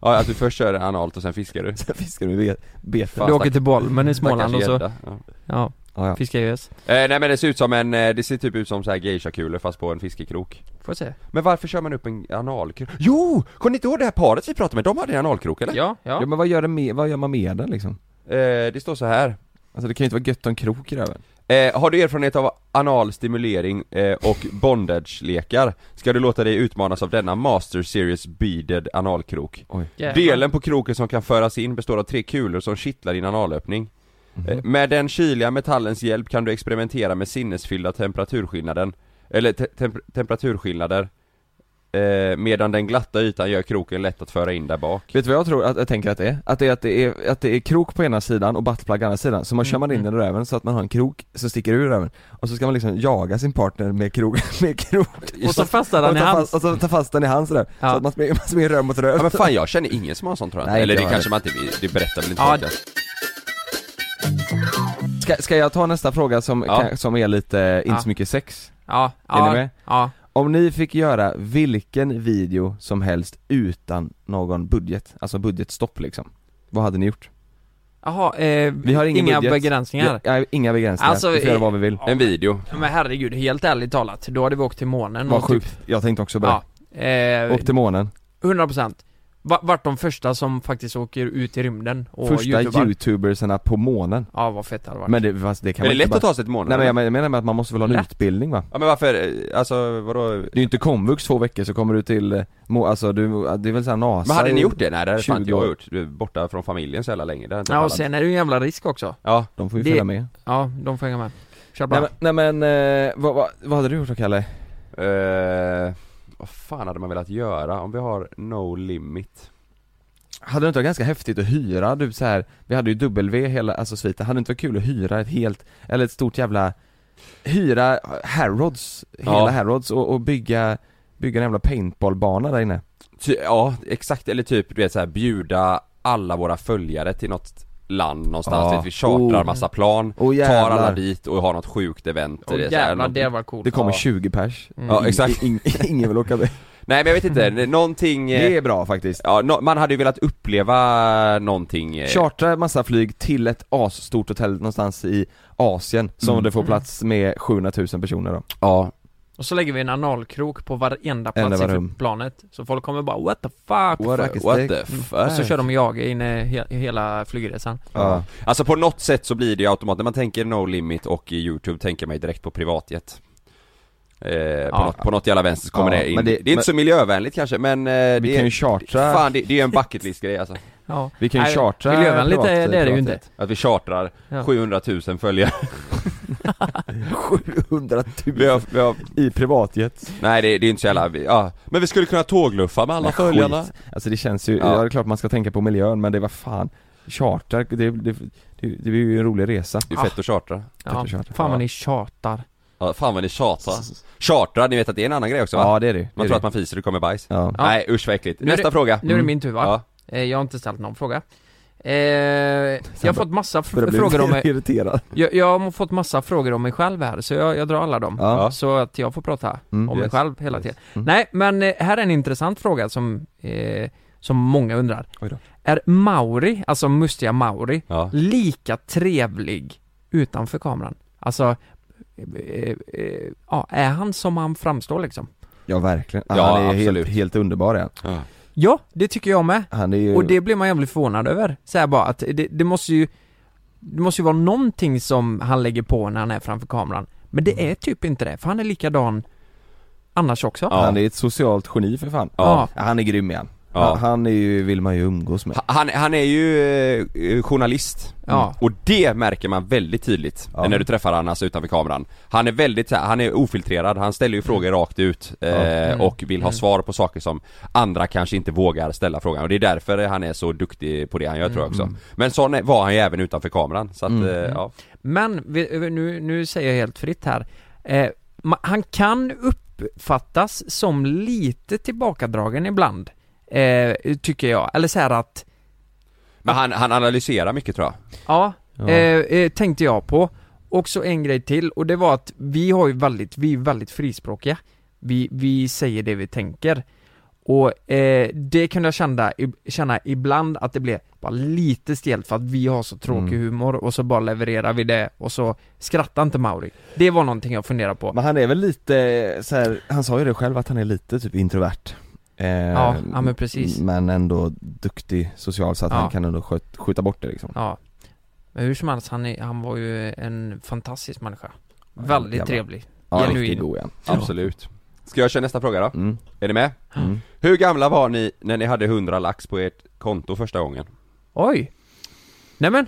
[SPEAKER 6] Ja, att du först kör analt och sen fiskar du Sen
[SPEAKER 9] fiskar du betet
[SPEAKER 8] du åker till Bolmen i Småland och så... Ja,
[SPEAKER 9] Ja, ja.
[SPEAKER 8] fiskar gös.
[SPEAKER 6] Eh, nej men det ser ut som en, eh, det ser typ ut som så här geisha-kulor fast på en fiskekrok
[SPEAKER 8] Får jag se?
[SPEAKER 6] Men varför kör man upp en analkrok? Jo! Kommer ni inte ihåg det här paret vi pratade med? De hade en analkrok eller?
[SPEAKER 8] Ja, ja.
[SPEAKER 9] Ja men vad gör, det med, vad gör man med den liksom?
[SPEAKER 6] Eh, det står så här
[SPEAKER 9] Alltså det kan ju inte vara gött om krok i röven
[SPEAKER 6] Eh, har du erfarenhet av anal stimulering eh, och bondage-lekar? Ska du låta dig utmanas av denna Master Series beaded analkrok?
[SPEAKER 8] Jävlar.
[SPEAKER 6] Delen på kroken som kan föras in består av tre kulor som kittlar din analöppning.
[SPEAKER 9] Mhm.
[SPEAKER 6] Eh, med den kyliga metallens hjälp kan du experimentera med sinnesfyllda temperaturskillnaden, eller te- temp- temperaturskillnader, eh, medan den glatta ytan gör kroken lätt att föra in där bak.
[SPEAKER 9] Vet du vad jag tror att jag tänker att det är? Att det är att det är, att det är krok på ena sidan och buttplug på andra sidan,
[SPEAKER 8] Mm,
[SPEAKER 9] så man kör man in den i röven så att man har en krok som sticker ur röven Och så ska man liksom jaga sin partner med krok, med krok
[SPEAKER 8] Och så fastnar den
[SPEAKER 9] Och
[SPEAKER 8] i
[SPEAKER 9] ta fast-
[SPEAKER 8] hans.
[SPEAKER 9] Och så tar fast den i hans röv, så att man smeker, man smeker röv mot röv
[SPEAKER 6] Ja, men fan jag känner ingen som har sånt tror jag inte.
[SPEAKER 9] Nej,
[SPEAKER 6] Eller
[SPEAKER 9] inte
[SPEAKER 6] det
[SPEAKER 9] jag
[SPEAKER 6] kanske man
[SPEAKER 9] heller.
[SPEAKER 6] inte, det berättar väl inte
[SPEAKER 9] Ja.
[SPEAKER 6] folk att-
[SPEAKER 9] Ska, ska jag ta nästa fråga som,
[SPEAKER 6] Ja.
[SPEAKER 9] kan, som är lite, inte
[SPEAKER 8] Ja.
[SPEAKER 9] så mycket sex?
[SPEAKER 8] Ja,
[SPEAKER 9] Är
[SPEAKER 8] ja,
[SPEAKER 9] ni med?
[SPEAKER 8] ja.
[SPEAKER 9] Om ni fick göra vilken video som helst utan någon budget, alltså budgetstopp liksom Vad hade ni gjort?
[SPEAKER 8] Jaha, eh,
[SPEAKER 9] Vi har ingen
[SPEAKER 8] inga
[SPEAKER 9] budget.
[SPEAKER 8] begränsningar.
[SPEAKER 9] Ja, nej, inga begränsningar,
[SPEAKER 8] Alltså,
[SPEAKER 9] vi får göra
[SPEAKER 8] eh,
[SPEAKER 9] vad vi vill
[SPEAKER 6] En video
[SPEAKER 8] Men herregud, helt ärligt talat, då hade vi åkt till månen
[SPEAKER 9] Vad
[SPEAKER 8] och typ-
[SPEAKER 9] sjukt,
[SPEAKER 6] typ-
[SPEAKER 9] jag tänkte också på det.
[SPEAKER 8] Ja, eh,
[SPEAKER 9] Och till månen.
[SPEAKER 8] 100% Va- Vart de första som faktiskt åker ut i rymden och
[SPEAKER 9] Första
[SPEAKER 8] youtubar.
[SPEAKER 9] youtubersarna på månen.
[SPEAKER 8] Ja vad fett det hade varit
[SPEAKER 9] Men det, fast det kan
[SPEAKER 6] Men
[SPEAKER 9] man
[SPEAKER 6] det är
[SPEAKER 9] inte
[SPEAKER 6] lätt
[SPEAKER 9] bara...
[SPEAKER 6] att ta sig till månen,
[SPEAKER 9] Nej men
[SPEAKER 6] eller?
[SPEAKER 9] jag men- jag menar med att man måste väl ha en
[SPEAKER 6] Lätt.
[SPEAKER 9] utbildning va?
[SPEAKER 6] Ja men varför, eh, alltså vadå?
[SPEAKER 9] Det är ju inte komvux två veckor så kommer du till, eh, må, alltså du, det är väl såhär NASA
[SPEAKER 6] Men hade ni
[SPEAKER 9] i
[SPEAKER 6] gjort det? Nej det hade fan
[SPEAKER 9] 20
[SPEAKER 6] inte jag
[SPEAKER 9] Alltså, år.
[SPEAKER 6] gjort, Du är borta från familjen så jävla länge, det hade inte
[SPEAKER 8] Ja och
[SPEAKER 6] pallat.
[SPEAKER 8] sen är det ju en jävla risk också
[SPEAKER 6] Ja,
[SPEAKER 9] de får ju
[SPEAKER 8] Det-
[SPEAKER 9] följa med
[SPEAKER 8] Ja, de får hänga med Kör bara
[SPEAKER 9] Nej men, nej, men eh, vad, vad, vad hade du gjort då Kalle?
[SPEAKER 6] Eh, vad fan hade man velat göra om vi har no limit?
[SPEAKER 9] Hade det inte varit ganska häftigt att hyra, du så här, vi hade ju W hela, alltså sviten, hade det inte varit kul att hyra ett helt, eller ett stort jävla Hyra Harrods, hela
[SPEAKER 6] Ja.
[SPEAKER 9] Harrods och, och bygga, bygga en jävla paintballbana där inne
[SPEAKER 6] Ty, ja, exakt, eller typ du vet så här, bjuda alla våra följare till något land någonstans,
[SPEAKER 9] Ja.
[SPEAKER 6] du vet, vi chartrar
[SPEAKER 9] Oh.
[SPEAKER 6] massa plan,
[SPEAKER 9] Oh,
[SPEAKER 6] tar
[SPEAKER 9] jävlar. Oh,
[SPEAKER 6] alla dit och har något sjukt event
[SPEAKER 8] Åh,
[SPEAKER 6] är så här,
[SPEAKER 8] jävlar,
[SPEAKER 6] någon-
[SPEAKER 8] det var coolt.
[SPEAKER 9] Det kommer
[SPEAKER 6] Ja.
[SPEAKER 9] 20 pers
[SPEAKER 6] Mm. Ja, exakt.
[SPEAKER 9] In, in, ingen vill åka med
[SPEAKER 6] Nej men jag vet inte, någonting eh,
[SPEAKER 9] Det är bra faktiskt
[SPEAKER 6] Ja, nå- man hade ju velat uppleva någonting eh,
[SPEAKER 9] Chartra massa flyg till ett asstort hotell någonstans i Asien som
[SPEAKER 6] Mm.
[SPEAKER 9] det får plats med 700 000 personer då
[SPEAKER 6] Ja
[SPEAKER 8] Och så lägger vi en analkrok på varenda plats
[SPEAKER 9] Enda
[SPEAKER 8] i
[SPEAKER 9] rum.
[SPEAKER 8] planet Så folk kommer bara 'What the fuck?'
[SPEAKER 6] What the fuck is What the Alltså, that?
[SPEAKER 8] Mm.
[SPEAKER 6] fuck?
[SPEAKER 8] Och så kör de jag in eh, he- hela flygresan
[SPEAKER 6] Ja. Alltså på något sätt så blir det ju automatiskt, när man tänker No Limit och i YouTube tänker man ju direkt på privatjet eh, på, något, på något jävla vänster så kommer
[SPEAKER 9] Ja,
[SPEAKER 6] det in.
[SPEAKER 9] men
[SPEAKER 6] det,
[SPEAKER 9] det-
[SPEAKER 6] är inte
[SPEAKER 9] men-
[SPEAKER 6] så miljövänligt kanske men eh, det
[SPEAKER 9] Vi
[SPEAKER 6] är,
[SPEAKER 9] kan ju chartra-
[SPEAKER 6] Fan det, det är ju en bucketlist grej alltså
[SPEAKER 8] Ja. Vi kan ju Nej, chartra miljövänligt är- privat- det är det ju inte. privatjet.
[SPEAKER 6] Att vi chartrar
[SPEAKER 8] Ja.
[SPEAKER 6] 700 000 följare
[SPEAKER 9] 700 000
[SPEAKER 6] vi har, vi har,
[SPEAKER 9] i privatjet
[SPEAKER 6] Nej det, det är inte så jävla, vi- ja. Men vi skulle kunna tågluffa med alla
[SPEAKER 9] Men skit.
[SPEAKER 6] följarna
[SPEAKER 9] Alltså det känns ju,
[SPEAKER 6] Ja.
[SPEAKER 9] ja. det är klart man ska tänka på miljön men det var fan Charter, det, det, det, det blir ju en rolig resa
[SPEAKER 6] Det är fett att chartra
[SPEAKER 9] Fett att chartra.
[SPEAKER 8] Fan vad ni tjatar
[SPEAKER 6] Ja, fan vad ni tjatar. Chartrar, ni vet att det är en annan grej också va?
[SPEAKER 9] Ja, det är det. Det
[SPEAKER 6] Man
[SPEAKER 9] är
[SPEAKER 6] tror
[SPEAKER 9] det.
[SPEAKER 6] att man fiser och det kommer bajs.
[SPEAKER 9] Ja.
[SPEAKER 6] Nej usch vad äckligt.
[SPEAKER 8] Nu är
[SPEAKER 6] Nästa
[SPEAKER 8] det,
[SPEAKER 6] fråga. Mm.
[SPEAKER 8] Nu är det min tur va?
[SPEAKER 6] Ja.
[SPEAKER 8] Eh, Jag har inte ställt någon fråga eh, Jag har fått massa f-
[SPEAKER 9] Börjar bli
[SPEAKER 8] frågor om mig
[SPEAKER 9] irriterad.
[SPEAKER 8] jag, jag har fått massa frågor om mig själv här, så jag, jag drar alla dem.
[SPEAKER 9] Ja.
[SPEAKER 8] Så att jag får prata
[SPEAKER 9] Mm,
[SPEAKER 8] om mig
[SPEAKER 9] yes,
[SPEAKER 8] själv hela tiden.
[SPEAKER 9] Mm.
[SPEAKER 8] Nej, men eh, här är en intressant fråga som, eh, som många undrar.
[SPEAKER 9] Oj då.
[SPEAKER 8] Är Mauri, alltså mustiga Mauri,
[SPEAKER 6] Ja.
[SPEAKER 8] lika trevlig utanför kameran? Alltså, eh, eh, ja, är han som han framstår liksom?
[SPEAKER 9] Ja verkligen,
[SPEAKER 6] Ja,
[SPEAKER 9] han är
[SPEAKER 6] absolut.
[SPEAKER 9] helt, helt underbar är
[SPEAKER 6] han.
[SPEAKER 8] Ja, det tycker jag med.
[SPEAKER 9] Han är ju,
[SPEAKER 8] Och det blir man jävligt förvånad över. Så här bara att det, det måste ju Det måste ju vara någonting som han lägger på när han är framför kameran. Men det är typ inte det, för han är likadan annars också.
[SPEAKER 9] han är ett socialt geni för fan
[SPEAKER 8] Ja.
[SPEAKER 9] Han är grym igen
[SPEAKER 6] Ja.
[SPEAKER 9] han, han är ju, vill man ju umgås med
[SPEAKER 6] Han, han är ju eh, journalist.
[SPEAKER 9] Ja.
[SPEAKER 6] Och det märker man väldigt tydligt
[SPEAKER 9] Ja.
[SPEAKER 6] när du träffar han alltså utanför kameran. Han är väldigt så här, han är ofiltrerad, han ställer ju frågor rakt ut eh,
[SPEAKER 9] Mm.
[SPEAKER 6] och vill ha
[SPEAKER 9] Mm.
[SPEAKER 6] svar på saker som andra kanske inte vågar ställa frågan. Och det är därför han är så duktig på det han gör tror jag också.
[SPEAKER 9] Mm.
[SPEAKER 6] Men sån är- var han ju även utanför kameran. Så att,
[SPEAKER 9] Mm.
[SPEAKER 6] eh, ja.
[SPEAKER 8] Men, vi- nu, nu säger jag helt fritt här. Eh, ma- han kan uppfattas som lite tillbakadragen ibland. Eh, tycker jag. Eller så här att,
[SPEAKER 6] Men han, han analyserar mycket tror jag.
[SPEAKER 8] ja,
[SPEAKER 6] Ja.
[SPEAKER 8] Eh, eh, tänkte jag på. Och så en grej till och det var att vi har ju väldigt, vi är väldigt frispråkiga. Vi, vi säger det vi tänker. Och eh, det kunde jag känna, ib- känna ibland att det blev bara lite stelt för att vi har så tråkig
[SPEAKER 9] Mm.
[SPEAKER 8] humor och så bara levererar vi det och så skrattar inte Mauri. Det var någonting jag funderade på.
[SPEAKER 9] Men han är väl lite så här, han sa ju det själv att han är lite typ introvert eh,
[SPEAKER 8] Ja, ja, men precis.
[SPEAKER 9] Men ändå duktig social så att
[SPEAKER 8] Ja.
[SPEAKER 9] han kan ändå sköt, skjuta bort det liksom
[SPEAKER 8] Ja. Men hur som helst, han, är, han var ju en fantastisk människa. väldigt
[SPEAKER 6] jävlar.
[SPEAKER 8] trevlig.
[SPEAKER 9] Ja,
[SPEAKER 8] Genuin.
[SPEAKER 9] riktigt god igen.
[SPEAKER 6] Absolut. Ska jag köra nästa fråga då?
[SPEAKER 9] Mm.
[SPEAKER 6] Är ni med?
[SPEAKER 9] Mm.
[SPEAKER 6] Hur gamla var ni när ni hade 100 lax på ert konto första gången?
[SPEAKER 8] Oj! Nämen!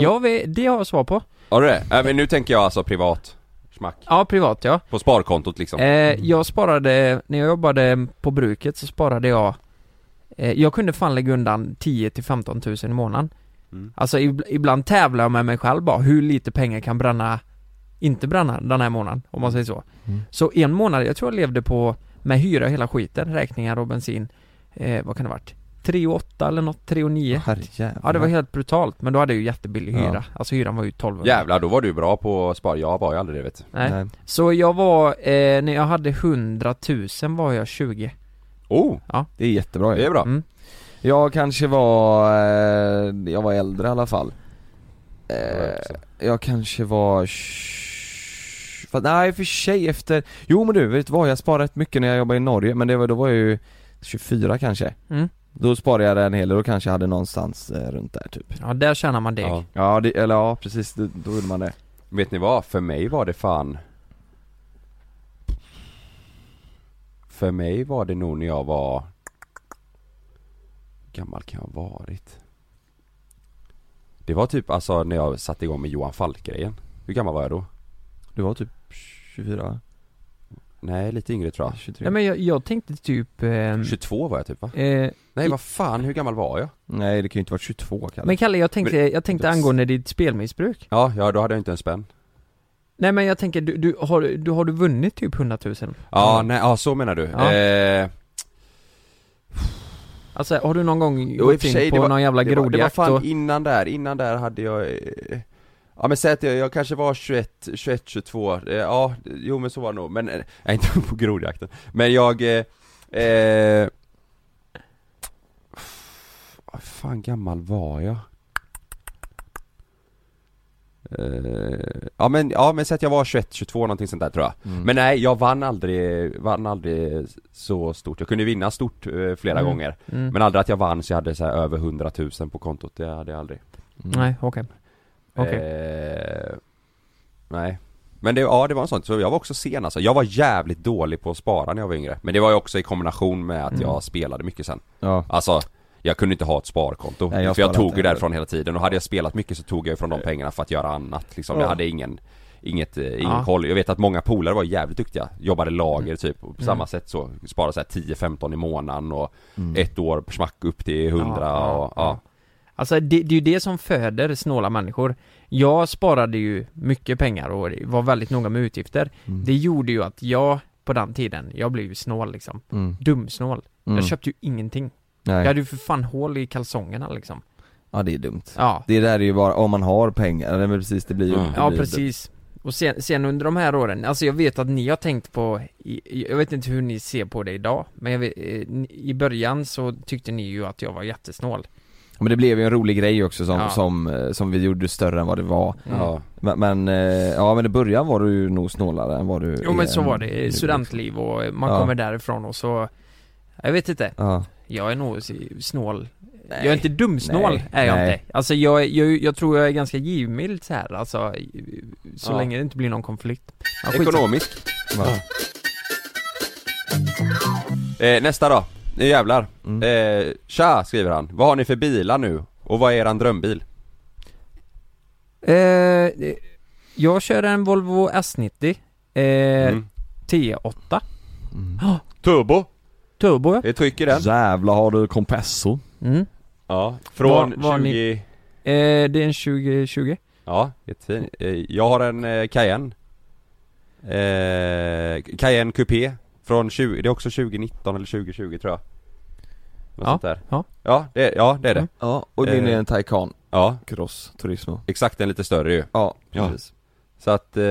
[SPEAKER 8] Ja, vi, det har jag svar på.
[SPEAKER 6] Har du det? Äh, men nu tänker jag alltså privat smack.
[SPEAKER 8] Ja, privat ja.
[SPEAKER 6] På sparkontot liksom.
[SPEAKER 8] Eh, jag sparade, när jag jobbade på bruket så sparade jag eh, Jag kunde fan lägga undan 10 till 15 000 i månaden
[SPEAKER 6] Mm.
[SPEAKER 8] Alltså ib- ibland tävlar jag med mig själv bara hur lite pengar kan bränna Inte bränna den här månaden om man säger så
[SPEAKER 9] Mm.
[SPEAKER 8] Så en månad, jag tror jag levde på Med hyra och hela skiten, räkningar och bensin eh, Vad kan det varit? 3 8 eller något, 3 9
[SPEAKER 9] Herrejävlar.
[SPEAKER 8] Ja det var helt brutalt men då hade jag ju jättebillig
[SPEAKER 6] Mm. Ja.
[SPEAKER 8] hyra Alltså hyran var ju 1200
[SPEAKER 6] Jävlar, Mm. då var du bra på att spara. Jag var ju aldrig det vet du.
[SPEAKER 8] Nej. Så jag var, eh, när jag hade 100 000 var jag 20
[SPEAKER 6] Oh!
[SPEAKER 8] Ja.
[SPEAKER 9] Det är jättebra ju.
[SPEAKER 6] Det är bra.
[SPEAKER 8] Mm.
[SPEAKER 9] Jag kanske var, eh, jag var äldre i alla fall eh, Jag kanske var tj- fast, Nej för sig efter, jo men du vet du vad jag sparade rätt mycket när jag jobbade i Norge men det var, då var jag ju 24 kanske
[SPEAKER 8] Mm.
[SPEAKER 9] Då sparade jag en hel del, då kanske jag hade någonstans eh, runt där typ
[SPEAKER 8] Ja, där tjänar man deg.
[SPEAKER 6] Ja.
[SPEAKER 9] Ja, det, eller ja precis, det, då gjorde man det
[SPEAKER 6] Vet ni vad? För mig var det fan... För mig var det nog när jag var... Hur gammal kan jag ha varit? Det var typ alltså när jag satte igång med Johan Falk-grejen. Hur gammal var jag då?
[SPEAKER 9] Du var typ 24
[SPEAKER 6] Nej, lite yngre tror jag.
[SPEAKER 9] 23
[SPEAKER 8] Nej men jag, jag tänkte typ... Eh,
[SPEAKER 6] 22 var jag typ va?
[SPEAKER 8] eh,
[SPEAKER 6] Nej vad fan, hur gammal var jag?
[SPEAKER 9] Nej det kan ju inte vara 22 Kalle
[SPEAKER 8] men Kalle, jag tänkte,
[SPEAKER 6] Men-
[SPEAKER 8] jag tänkte angående ditt spelmissbruk.
[SPEAKER 6] Ja, ja då hade jag inte en spänn.
[SPEAKER 8] Nej men jag tänker, du, du, har, du, har du vunnit typ 100 000?
[SPEAKER 6] Ja, nej, ja så menar du.
[SPEAKER 8] Ja.
[SPEAKER 6] Eh,
[SPEAKER 8] Alltså har du någon gång
[SPEAKER 6] Jo, i och
[SPEAKER 8] gått
[SPEAKER 6] för sig,
[SPEAKER 8] in på någon jävla
[SPEAKER 6] det var, det var
[SPEAKER 8] grodjakt
[SPEAKER 6] fan
[SPEAKER 8] och...
[SPEAKER 6] innan där, innan där hade jag eh, Ja men säg att jag, jag kanske var 21, 21, 22, eh, ja, jo men så var det nog, men, eh, nej inte på grodjakten Men jag, eh, eh, vad fan gammal var jag? Eh, ja men, ja men säg att jag var 21, 22 någonting sånt där tror jag
[SPEAKER 9] Mm.
[SPEAKER 6] Men nej, jag vann aldrig, vann aldrig så stort Jag kunde vinna stort eh, flera
[SPEAKER 8] Mm.
[SPEAKER 6] gånger
[SPEAKER 8] Mm.
[SPEAKER 6] Men aldrig att jag vann så jag hade så här över 100 000 på kontot, det hade jag aldrig
[SPEAKER 8] Nej, okej. Okej.
[SPEAKER 6] Eh, nej. Men det, ja, det var en sån. Så jag var också sen alltså. Jag var jävligt dålig på att spara när jag var yngre. Men det var ju också i kombination med att
[SPEAKER 9] Mm.
[SPEAKER 6] jag spelade mycket sen.
[SPEAKER 9] Ja.
[SPEAKER 6] Alltså, jag kunde inte ha ett sparkonto.
[SPEAKER 9] Nej, jag
[SPEAKER 6] för jag
[SPEAKER 9] sparade
[SPEAKER 6] tog ju
[SPEAKER 9] inte Eh.
[SPEAKER 6] därifrån hela tiden. Och hade jag spelat mycket så tog jag ju från de pengarna för att göra annat. Liksom. Jag
[SPEAKER 9] Ja.
[SPEAKER 6] hade ingen, inget, eh, ingen
[SPEAKER 9] Ja.
[SPEAKER 6] koll. Jag vet att många polare var jävligt duktiga. Jobbade lager typ. Och på
[SPEAKER 9] Mm.
[SPEAKER 6] samma sätt så. Sparade så här 10-15 i månaden och
[SPEAKER 8] Mm.
[SPEAKER 6] ett år smack upp till 100
[SPEAKER 8] Ja,
[SPEAKER 6] och ja.
[SPEAKER 8] Alltså det, det är ju det som föder snåla människor. Jag sparade ju mycket pengar och var väldigt noga med utgifter.
[SPEAKER 9] Mm.
[SPEAKER 8] Det gjorde ju att jag på den tiden, jag blev ju snål liksom.
[SPEAKER 9] Mm.
[SPEAKER 8] Dumsnål.
[SPEAKER 9] Mm.
[SPEAKER 8] Jag köpte ju ingenting.
[SPEAKER 9] Nej.
[SPEAKER 8] Jag hade ju för fan hål i kalsongerna liksom.
[SPEAKER 9] Ja det är dumt.
[SPEAKER 8] Ja.
[SPEAKER 9] Det där är ju bara om man har pengar, eller men precis det blir ju det
[SPEAKER 8] Ja
[SPEAKER 9] blir ju dumt.
[SPEAKER 8] precis. Och sen, sen under de här åren, alltså jag vet att ni har tänkt på, i- i- jag vet inte hur ni ser på det idag, men jag vet, eh, ni- i början så tyckte ni ju att jag var jättesnål.
[SPEAKER 9] Men det blev ju en rolig grej också som,
[SPEAKER 8] Ja.
[SPEAKER 9] som, eh, som vi gjorde större än vad det var
[SPEAKER 8] Mm. Ja.
[SPEAKER 9] men, men, eh, ja men i början var du ju nog snålare än vad du
[SPEAKER 8] Jo men
[SPEAKER 9] är
[SPEAKER 8] så var
[SPEAKER 9] nu, liksom.
[SPEAKER 8] det, studentliv och man
[SPEAKER 9] Ja.
[SPEAKER 8] kommer därifrån och så Jag vet inte
[SPEAKER 9] Ja.
[SPEAKER 8] Jag är nog s- snål Jag är inte dumsnål,
[SPEAKER 9] Nej.
[SPEAKER 8] är jag
[SPEAKER 9] Nej.
[SPEAKER 8] inte Alltså jag, jag, jag tror jag är ganska givmild så här. alltså Så
[SPEAKER 6] Ja.
[SPEAKER 8] länge det inte blir någon konflikt Ja, skitsamma.
[SPEAKER 6] Ekonomisk. Eh, nästa då, nu jävlar.
[SPEAKER 9] Mm.
[SPEAKER 6] Eh, tja, skriver han. Vad har ni för bilar nu? Och vad är eran drömbil?
[SPEAKER 8] eh, Jag kör en Volvo S90 eh,
[SPEAKER 6] Mm.
[SPEAKER 8] T8
[SPEAKER 6] Turbo?
[SPEAKER 8] Turbo ja.
[SPEAKER 6] Det trycker den.
[SPEAKER 9] Jävlar har du kompressor
[SPEAKER 8] Mm.
[SPEAKER 6] Ja, från
[SPEAKER 8] Vad- vad har
[SPEAKER 6] 20...
[SPEAKER 8] ni- eh, Det är en 2020
[SPEAKER 6] Ja, jättefin. Eh, jag har en eh, Cayenne. Eh, Cayenne Coupé. Från 20... Det är också 2019 eller 2020 tror jag. Något
[SPEAKER 9] Ja,
[SPEAKER 6] sånt där.
[SPEAKER 8] ja.
[SPEAKER 6] Ja, det, ja, det är det.
[SPEAKER 9] Mm. Ja, och din är en Taycan.
[SPEAKER 6] Ja.
[SPEAKER 9] Cross Turismo
[SPEAKER 6] Exakt, en lite större ju.
[SPEAKER 9] Ja, precis.
[SPEAKER 6] Så att, eh,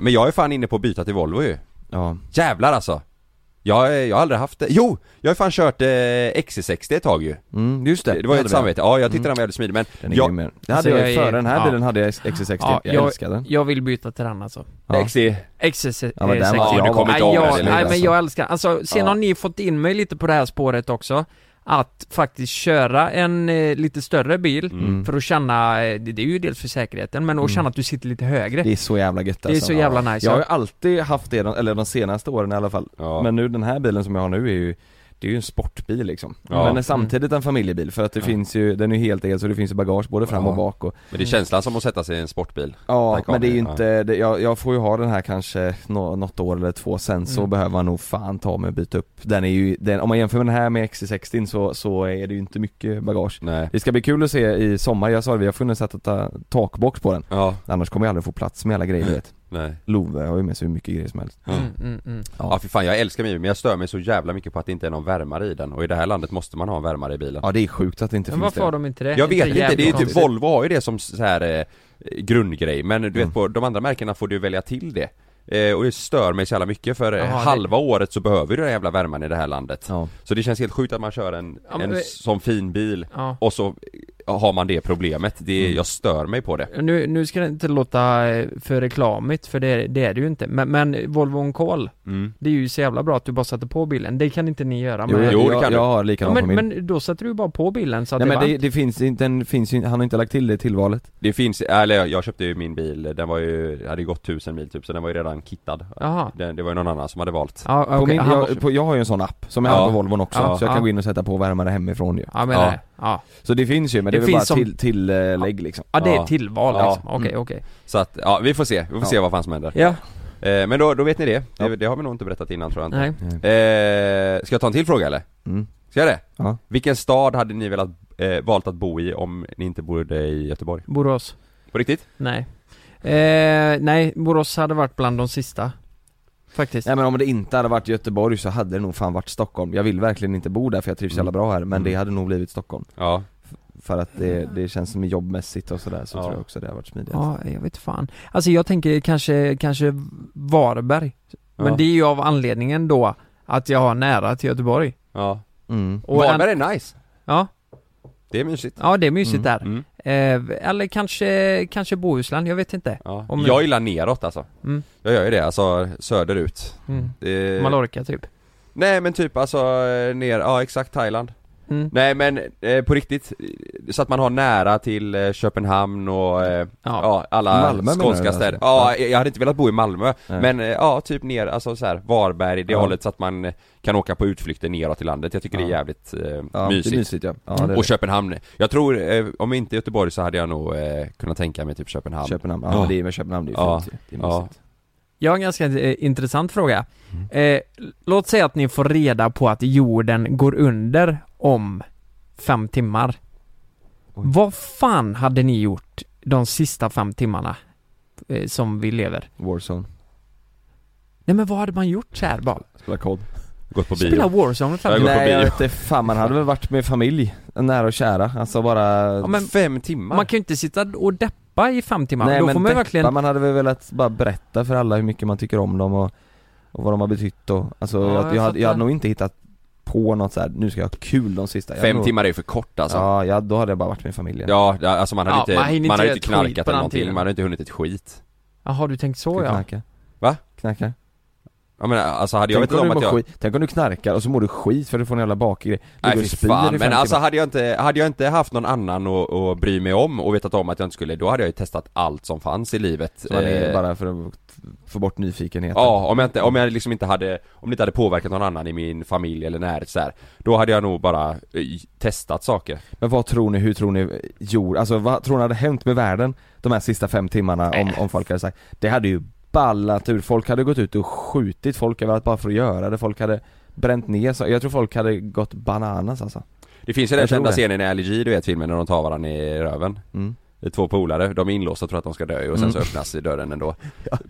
[SPEAKER 6] men jag är fan inne på att byta till Volvo ju.
[SPEAKER 9] Ja.
[SPEAKER 6] Jävlar alltså. Jag, är- jag har aldrig haft det. Jo! Jag har fan kört eh, XC60 ett tag ju.
[SPEAKER 9] Mm, just det.
[SPEAKER 6] Det var ju
[SPEAKER 9] Hade
[SPEAKER 6] ett
[SPEAKER 9] vi.
[SPEAKER 6] samarbete. Ja, jag tyckte
[SPEAKER 9] Mm.
[SPEAKER 6] den var jävligt smidig men...
[SPEAKER 9] Den är grym med den.
[SPEAKER 8] Alltså,
[SPEAKER 9] Det hade jag ju före den här bilen hade jag XC60. Jag älskar den.
[SPEAKER 8] Jag vill byta till den alltså
[SPEAKER 9] Ja.
[SPEAKER 6] XC.
[SPEAKER 8] XC60
[SPEAKER 9] Ja, men den var-
[SPEAKER 6] Ja, du kommer inte
[SPEAKER 8] Nej,
[SPEAKER 6] ångra
[SPEAKER 8] jag-
[SPEAKER 6] dig nu,
[SPEAKER 8] Nej men
[SPEAKER 6] alltså.
[SPEAKER 8] jag älskar Alltså sen
[SPEAKER 6] Ja.
[SPEAKER 8] har ni fått in mig lite på det här spåret också Att faktiskt köra en eh, lite större bil
[SPEAKER 9] Mm.
[SPEAKER 8] för att känna, eh, det, det är ju dels för säkerheten men att
[SPEAKER 9] Mm.
[SPEAKER 8] känna att du sitter lite högre
[SPEAKER 9] Det är så jävla gött alltså.
[SPEAKER 8] Det är så jävla nice,
[SPEAKER 9] Jag har
[SPEAKER 8] ja.
[SPEAKER 9] ju alltid haft det, de- eller de senaste åren i alla fall Men nu den här bilen som jag har nu är ju Det är ju en sportbil liksom
[SPEAKER 6] Ja.
[SPEAKER 9] Men är samtidigt en familjebil för att det finns ju, den är ju helt el så det finns ju bagage både fram och bak och
[SPEAKER 6] Men det är känslan som att sätta sig i en sportbil.
[SPEAKER 9] Ja
[SPEAKER 6] Taycan,
[SPEAKER 9] men det är ju
[SPEAKER 6] ja.
[SPEAKER 9] inte, det, jag, jag får ju ha den här kanske nå, något år eller två sen så
[SPEAKER 6] Mm.
[SPEAKER 9] behöver man nog fan ta mig och byta upp Den är ju, den, om man jämför med den här med XC60 så, så är det ju inte mycket bagage
[SPEAKER 6] Nej.
[SPEAKER 9] Det ska bli kul att se i sommar, jag sa det vi har funnit sätt att ta takbox på den
[SPEAKER 6] Ja.
[SPEAKER 9] Annars kommer jag aldrig få plats med alla grejer du vet
[SPEAKER 6] Nej.
[SPEAKER 9] Love har ju med sig hur mycket grejer som helst
[SPEAKER 6] Mm, Ja, för fan jag älskar min bil men jag stör mig så jävla mycket på att det inte är någon värmare i den och i det här landet måste man ha en värmare i bilen.
[SPEAKER 9] Ja det är sjukt att det inte
[SPEAKER 8] Men
[SPEAKER 9] finns
[SPEAKER 8] varför
[SPEAKER 9] det.
[SPEAKER 8] har de inte det?
[SPEAKER 6] Jag vet inte, det är ju typ
[SPEAKER 8] jävligt
[SPEAKER 6] Volvo har ju det som så här eh, grundgrej men du vet på de andra märkena får du välja till det. Eh, och det stör mig så jävla mycket för eh,
[SPEAKER 8] Jaha, det-
[SPEAKER 6] halva året så behöver du den här jävla värmen i det här landet. Så det känns helt sjukt att man kör en,
[SPEAKER 8] Ja, men
[SPEAKER 6] en
[SPEAKER 8] det-
[SPEAKER 6] sån fin bil
[SPEAKER 8] Ja.
[SPEAKER 6] och så eh, har man det problemet. Det, Jag stör mig på det.
[SPEAKER 8] Nu, nu ska det inte låta eh, för reklamigt för det, det är det ju inte Men, men Volvo On Call
[SPEAKER 6] Mm.
[SPEAKER 8] Det är ju så jävla bra att du bara sätter på bilen, det kan inte ni göra
[SPEAKER 9] Jo,
[SPEAKER 8] med
[SPEAKER 9] jo, det kan Jag- du. jag har likadant
[SPEAKER 8] ja,
[SPEAKER 9] på
[SPEAKER 8] men,
[SPEAKER 9] min.
[SPEAKER 8] men då sätter du bara på bilen så att
[SPEAKER 9] Nej
[SPEAKER 8] det
[SPEAKER 9] men det,
[SPEAKER 8] är varmt.
[SPEAKER 9] det finns inte, den finns ju, han har inte lagt till det i tillvalet
[SPEAKER 6] Det finns, eller jag, jag köpte ju min bil, den var ju, hade ju gått tusen mil typ så den var ju redan kittad
[SPEAKER 8] Jaha.
[SPEAKER 6] den, Det var ju någon annan som hade valt
[SPEAKER 9] på min, jag, på, jag har ju en sån app som jag
[SPEAKER 6] Ja.
[SPEAKER 9] har på Volvon också,
[SPEAKER 6] Ja.
[SPEAKER 9] så jag kan
[SPEAKER 6] Ja.
[SPEAKER 9] gå in och sätta på värmare hemifrån ju
[SPEAKER 8] Ja, men nej. Ja.
[SPEAKER 9] Så det finns ju men det,
[SPEAKER 8] Det
[SPEAKER 9] är väl bara
[SPEAKER 8] finns som-
[SPEAKER 9] till, tillägg liksom
[SPEAKER 8] Ja, det är tillval
[SPEAKER 6] Ja.
[SPEAKER 8] liksom. Okej,
[SPEAKER 6] Mm.
[SPEAKER 8] okej.
[SPEAKER 6] Så att, ja vi får se, vi får
[SPEAKER 8] Ja.
[SPEAKER 6] se vad fan som händer
[SPEAKER 8] Ja.
[SPEAKER 6] eh, Men då, då vet ni det. det, det har vi nog inte berättat innan tror jag inte
[SPEAKER 9] Nej.
[SPEAKER 6] Eh, Ska jag ta en till fråga eller?
[SPEAKER 9] Mm.
[SPEAKER 6] Ska jag det?
[SPEAKER 9] Ja.
[SPEAKER 6] Vilken stad hade ni velat, eh, valt att bo i om ni inte bodde i Göteborg?
[SPEAKER 8] Borås.
[SPEAKER 6] På riktigt?
[SPEAKER 8] Nej. Eh, nej, Borås hade varit bland de sista. Faktiskt.
[SPEAKER 9] Nej men om det inte hade varit Göteborg så hade det nog fan varit Stockholm Jag vill verkligen inte bo där för jag trivs jävla bra här men det hade nog blivit Stockholm
[SPEAKER 6] Ja
[SPEAKER 9] F- För att det, det känns som jobbmässigt och sådär så
[SPEAKER 8] Ja.
[SPEAKER 9] tror jag också det har varit smidigt
[SPEAKER 8] Mm. Ja, jag vet fan. Alltså jag tänker kanske, kanske Varberg. Men
[SPEAKER 9] Ja.
[SPEAKER 8] det är ju av anledningen då att jag har nära till Göteborg.
[SPEAKER 6] Ja
[SPEAKER 9] mm.
[SPEAKER 8] Och
[SPEAKER 6] Varberg är nice
[SPEAKER 8] Ja.
[SPEAKER 6] Det är mysigt
[SPEAKER 8] Ja, det är mysigt
[SPEAKER 6] Mm.
[SPEAKER 8] där.
[SPEAKER 6] Mm.
[SPEAKER 8] Eh, eller kanske, kanske Bohuslän, jag vet inte. Ja.
[SPEAKER 6] Jag gillar neråt alltså.
[SPEAKER 8] Mm.
[SPEAKER 6] Jag gör ju det, alltså söderut.
[SPEAKER 8] Mm.
[SPEAKER 6] Det-
[SPEAKER 8] Mallorca typ.
[SPEAKER 6] Nej men typ alltså eh, ner, ja exakt Thailand.
[SPEAKER 8] Mm.
[SPEAKER 6] Nej men eh, på riktigt, eh, så att man har nära till eh, Köpenhamn och eh, ja. alla
[SPEAKER 9] Malmö menar du,
[SPEAKER 6] skånska
[SPEAKER 9] alltså?
[SPEAKER 6] städer.
[SPEAKER 9] Ja.
[SPEAKER 6] Ja, jag- jag hade inte velat bo i Malmö,
[SPEAKER 9] Nej.
[SPEAKER 6] men eh, ja typ ner, alltså så här, Varberg, det
[SPEAKER 9] Ja.
[SPEAKER 6] hållet så att man eh, kan åka på utflykter neråt i landet. Jag tycker det är
[SPEAKER 9] Ja.
[SPEAKER 6] jävligt eh,
[SPEAKER 9] det är
[SPEAKER 6] mysigt.
[SPEAKER 9] mysigt, Mm. ja. Ja, det är det.
[SPEAKER 6] och Köpenhamn, jag tror, eh, om inte Göteborg så hade jag nog eh, kunnat tänka mig typ Köpenhamn.
[SPEAKER 9] Köpenhamn, ja, men det är med Köpenhamn, det är
[SPEAKER 6] ja.
[SPEAKER 9] fint ju. Det är
[SPEAKER 6] ja.
[SPEAKER 9] mysigt.
[SPEAKER 8] Jag har en ganska eh, intressant fråga.
[SPEAKER 9] Mm.
[SPEAKER 8] Eh, l- låt säga att ni får reda på att jorden går under om fem timmar. Vad fan hade ni gjort de sista fem timmarna eh, som vi lever?
[SPEAKER 9] Warzone
[SPEAKER 8] Nej men vad hade man gjort så här bara?
[SPEAKER 9] Spela kod
[SPEAKER 6] Gått på
[SPEAKER 8] Spela Warzone fem timmar?
[SPEAKER 9] Nej jag vet inte, fan man hade väl varit med familj, nära och kära, alltså bara
[SPEAKER 8] Ja, men
[SPEAKER 6] fem timmar?
[SPEAKER 8] Man kan ju inte sitta och deppa i fem timmar,
[SPEAKER 9] Nej
[SPEAKER 8] då
[SPEAKER 9] men
[SPEAKER 8] får man ju
[SPEAKER 9] deppa,
[SPEAKER 8] verkligen...
[SPEAKER 9] man hade väl velat bara berätta för alla hur mycket man tycker om dem och, och vad de har betytt och, alltså
[SPEAKER 8] Ja, jag
[SPEAKER 9] jag, jag, hade, jag
[SPEAKER 8] fattar.
[SPEAKER 9] hade nog inte hittat på något så här. nu ska jag ha kul de sista jag hade
[SPEAKER 6] Fem
[SPEAKER 9] nog,
[SPEAKER 6] timmar är ju för kort alltså.
[SPEAKER 9] Ja, ja, då hade jag bara varit med familjen
[SPEAKER 6] Ja, ja, alltså man hade
[SPEAKER 9] Ja,
[SPEAKER 6] inte,
[SPEAKER 9] man
[SPEAKER 6] man,
[SPEAKER 9] hinner
[SPEAKER 6] hade
[SPEAKER 9] inte
[SPEAKER 6] inte
[SPEAKER 9] göra ett skit
[SPEAKER 6] knarkat
[SPEAKER 9] på
[SPEAKER 6] eller
[SPEAKER 9] den
[SPEAKER 6] någonting,
[SPEAKER 9] tiden.
[SPEAKER 6] man hade inte hunnit ett skit
[SPEAKER 8] Jaha, du tänkt så
[SPEAKER 9] Ska
[SPEAKER 8] ja?
[SPEAKER 9] knarka.
[SPEAKER 6] Va?
[SPEAKER 9] Knarka
[SPEAKER 6] Ja men alltså hade jag
[SPEAKER 9] tänk,
[SPEAKER 6] vetat
[SPEAKER 9] om
[SPEAKER 6] om
[SPEAKER 9] du
[SPEAKER 6] att
[SPEAKER 9] mår
[SPEAKER 6] jag...
[SPEAKER 9] skit, tänk om du knarkar och så mår du skit för du får en jävla bakig grej
[SPEAKER 6] Nej
[SPEAKER 9] Ligger och
[SPEAKER 6] fy
[SPEAKER 9] spyr i
[SPEAKER 6] fan,
[SPEAKER 9] fem
[SPEAKER 6] men alltså
[SPEAKER 9] timmar.
[SPEAKER 6] hade jag, inte, hade jag inte haft någon annan att, att bry mig om och vetat om att jag inte skulle, då hade jag ju testat allt som fanns i livet
[SPEAKER 9] Så man är
[SPEAKER 6] Eh,
[SPEAKER 9] bara för att få bort nyfikenheten
[SPEAKER 6] Ja, om jag inte, om jag liksom inte hade, om det inte hade påverkat någon annan i min familj eller närhet så här, Då hade jag nog bara eh, testat saker
[SPEAKER 9] Men vad tror ni, hur tror ni jord, alltså vad tror ni hade hänt med världen de här sista fem timmarna om, om folk hade sagt Det hade ju ballat ur, folk hade gått ut och skjutit folk överallt bara för att göra det, folk hade bränt ner så jag tror folk hade gått bananas alltså
[SPEAKER 6] Det finns ju den
[SPEAKER 9] Jag tror
[SPEAKER 6] kända
[SPEAKER 9] det.
[SPEAKER 6] scenen i Allergy, du vet filmen, när de tar varandra i röven
[SPEAKER 9] Mm.
[SPEAKER 6] Det är Två polare, de är inlåsta och tror att de ska dö och sen så
[SPEAKER 9] Mm.
[SPEAKER 6] öppnas dörren ändå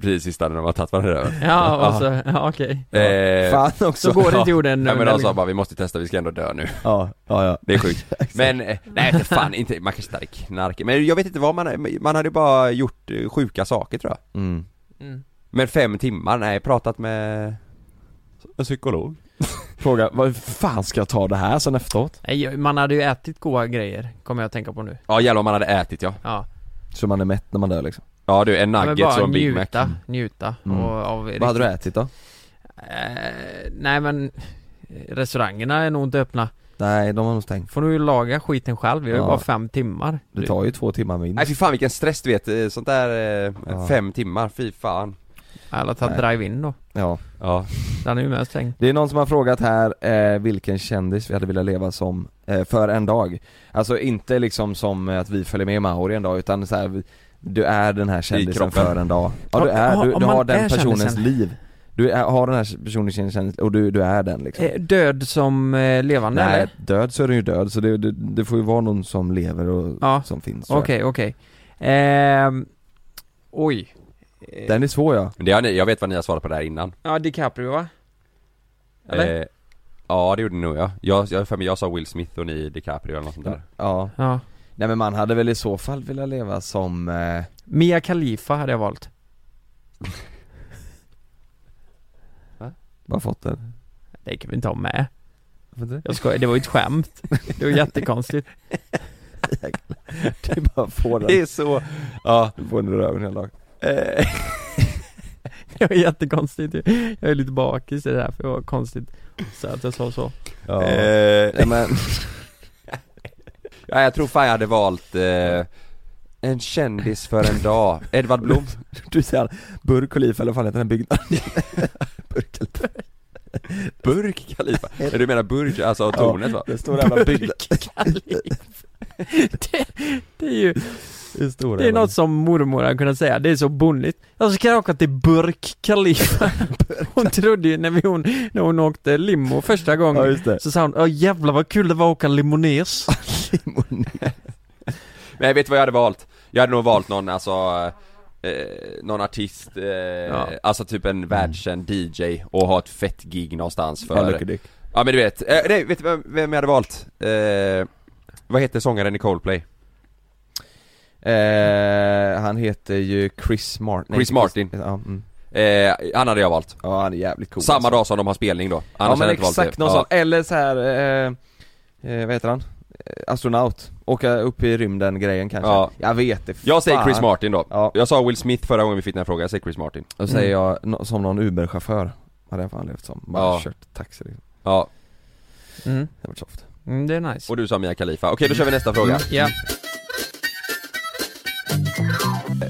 [SPEAKER 6] Precis sista när de har tagit varandra i röven
[SPEAKER 8] Ja, och så, ja okej.
[SPEAKER 6] Eh,
[SPEAKER 9] Fan också. Så alltså- går det inte jorden nu,
[SPEAKER 6] Nej men
[SPEAKER 9] eller?
[SPEAKER 6] de sa bara vi måste testa, vi ska ändå dö nu
[SPEAKER 9] Ja, ja, ja.
[SPEAKER 6] Det är sjukt Men, eh, nej inte fan inte, man kanske inte hade knark Men jag vet inte vad man, man hade bara gjort eh, sjuka saker tror jag
[SPEAKER 9] Mm.
[SPEAKER 8] Mm.
[SPEAKER 6] Men fem timmar, nej pratat med en psykolog
[SPEAKER 9] Fråga, vad fan ska jag ta det här sen efteråt?
[SPEAKER 8] Nej, man hade ju ätit goda grejer, kommer jag att tänka på nu.
[SPEAKER 6] Ja jävlar om man hade ätit ja
[SPEAKER 8] Ja.
[SPEAKER 9] Så man är mätt när man dör liksom
[SPEAKER 6] Ja du, en
[SPEAKER 8] Ja, men
[SPEAKER 6] nugget
[SPEAKER 8] bara
[SPEAKER 6] och en Big Mac
[SPEAKER 8] njuta, njuta
[SPEAKER 9] Mm.
[SPEAKER 8] och av
[SPEAKER 9] Vad hade du ätit då?
[SPEAKER 8] Eh, nej men eh, Restaurangerna är nog inte öppna
[SPEAKER 9] Nej, de har nog stängt
[SPEAKER 8] Får du ju laga skiten själv, vi har ju
[SPEAKER 9] Ja.
[SPEAKER 8] bara fem timmar
[SPEAKER 9] Det tar ju två timmar minst
[SPEAKER 6] Nej fy fan vilken stress du vet, eh, sånt där eh,
[SPEAKER 9] Ja.
[SPEAKER 6] fem timmar, fy fan
[SPEAKER 8] Eller att ta
[SPEAKER 9] Nej.
[SPEAKER 8] drive-in då
[SPEAKER 9] Ja
[SPEAKER 6] Ja
[SPEAKER 8] Den är ju mest stängd
[SPEAKER 9] Det är någon som har frågat här eh, vilken kändis vi hade velat leva som eh, för en dag Alltså inte liksom som eh, att vi följer med Mauri en dag utan så här, vi- du är den här kändisen
[SPEAKER 6] kroppen.
[SPEAKER 9] för en dag Ja du
[SPEAKER 8] Ja,
[SPEAKER 9] är,
[SPEAKER 8] ja,
[SPEAKER 9] du,
[SPEAKER 8] om
[SPEAKER 9] du
[SPEAKER 8] man
[SPEAKER 9] har den
[SPEAKER 8] är
[SPEAKER 9] personens
[SPEAKER 8] kändisen.
[SPEAKER 9] liv Du är, har den här personens kändis och du, du är den liksom
[SPEAKER 8] Eh, Död som eh, levande
[SPEAKER 9] Nej,
[SPEAKER 8] eller?
[SPEAKER 9] död så är den ju död så det, det, det får ju vara någon som lever och
[SPEAKER 8] Ja.
[SPEAKER 9] som finns tror jag.
[SPEAKER 8] Okej, okej Ehm, Oj
[SPEAKER 9] Den är svår ja
[SPEAKER 6] Men Det har ni, jag vet vad ni har svarat på det här innan
[SPEAKER 8] Ja, DiCaprio va? Eller?
[SPEAKER 6] eh, Ja det gjorde ni nog ja, jag, jag, för mig, jag sa Will Smith och ni DiCaprio eller något sånt där
[SPEAKER 9] Ja.
[SPEAKER 8] Ja.
[SPEAKER 9] Nej men man hade väl i så fall velat leva som eh,
[SPEAKER 8] Mia Khalifa hade jag valt
[SPEAKER 9] Bara fått den
[SPEAKER 8] Det kan vi inte ha med
[SPEAKER 9] Varför inte?
[SPEAKER 8] Jag skojar, det var ju ett skämt Det var jättekonstigt
[SPEAKER 9] Det är bara att få den
[SPEAKER 6] Det är så, ja
[SPEAKER 9] Du får den i röven hela dagen
[SPEAKER 6] Eh,
[SPEAKER 8] Det var jättekonstigt ju. Jag är lite bakis i det här för det var konstigt så att jag sa så
[SPEAKER 9] Ja,
[SPEAKER 6] eh,
[SPEAKER 9] Nej, men
[SPEAKER 6] Ja, jag tror fan jag hade valt eh, en kändis för en dag, Edvard Blom
[SPEAKER 9] du säger Burk och Liv eller vad fan heter den här byggnaden? Burk och Liv.
[SPEAKER 6] Burk Khalifa? Nej du menar Burj, alltså tornet va?
[SPEAKER 9] Ja, det står jävla bygg...
[SPEAKER 8] Det är ju,
[SPEAKER 9] Det står
[SPEAKER 8] det är något som mormor hade kunnat säga, det är så bonnigt Jag ska jag åka till Burk Khalifa Hon trodde ju när, vi, hon, när hon åkte limo första
[SPEAKER 9] Ja
[SPEAKER 8] gången
[SPEAKER 9] just det,
[SPEAKER 8] Så sa hon, åh jävlar vad kul det var att åka limones
[SPEAKER 6] Men jag vet vad jag hade valt? Jag hade nog valt någon, alltså eh, någon artist, eh, alltså typ en världskänd
[SPEAKER 9] Mm.
[SPEAKER 6] DJ och ha ett fett gig någonstans
[SPEAKER 9] Ja,
[SPEAKER 6] för
[SPEAKER 9] Lucky Dick.
[SPEAKER 6] Ja men du vet, eh, nej, vet du vem, vem jag hade valt? Eh, vad heter sångaren i Coldplay?
[SPEAKER 9] Eh, han heter ju Chris Martin Nej,
[SPEAKER 6] Chris
[SPEAKER 9] inte
[SPEAKER 6] Martin.
[SPEAKER 9] Ja, mm.
[SPEAKER 6] Eh, han hade jag valt
[SPEAKER 9] ja han är jävligt cool
[SPEAKER 6] Samma
[SPEAKER 9] alltså.
[SPEAKER 6] dag som de har spelning då, annars
[SPEAKER 9] Ja men
[SPEAKER 6] hade jag inte valt
[SPEAKER 9] exakt
[SPEAKER 6] det. Ja.
[SPEAKER 9] någon sån, eller så här eh, eh, vad heter han? astronaut, åka upp i rymden grejen kanske?
[SPEAKER 6] Ja.
[SPEAKER 9] Jag vet det,
[SPEAKER 6] Jag säger
[SPEAKER 9] fan.
[SPEAKER 6] Chris Martin då. Jag sa Will Smith förra gången vi fick den här frågan, jag säger Chris Martin.
[SPEAKER 9] Då säger jag nå- som någon Uber-chaufför, hade jag fan levt som, bara
[SPEAKER 6] Ja.
[SPEAKER 9] kört taxi liksom.
[SPEAKER 6] Ja.
[SPEAKER 8] Mm.
[SPEAKER 9] Det var soft.
[SPEAKER 8] Mm, det är nice.
[SPEAKER 6] Och du sa Mia Khalifa. Okej, då kör vi nästa fråga.
[SPEAKER 8] Ja.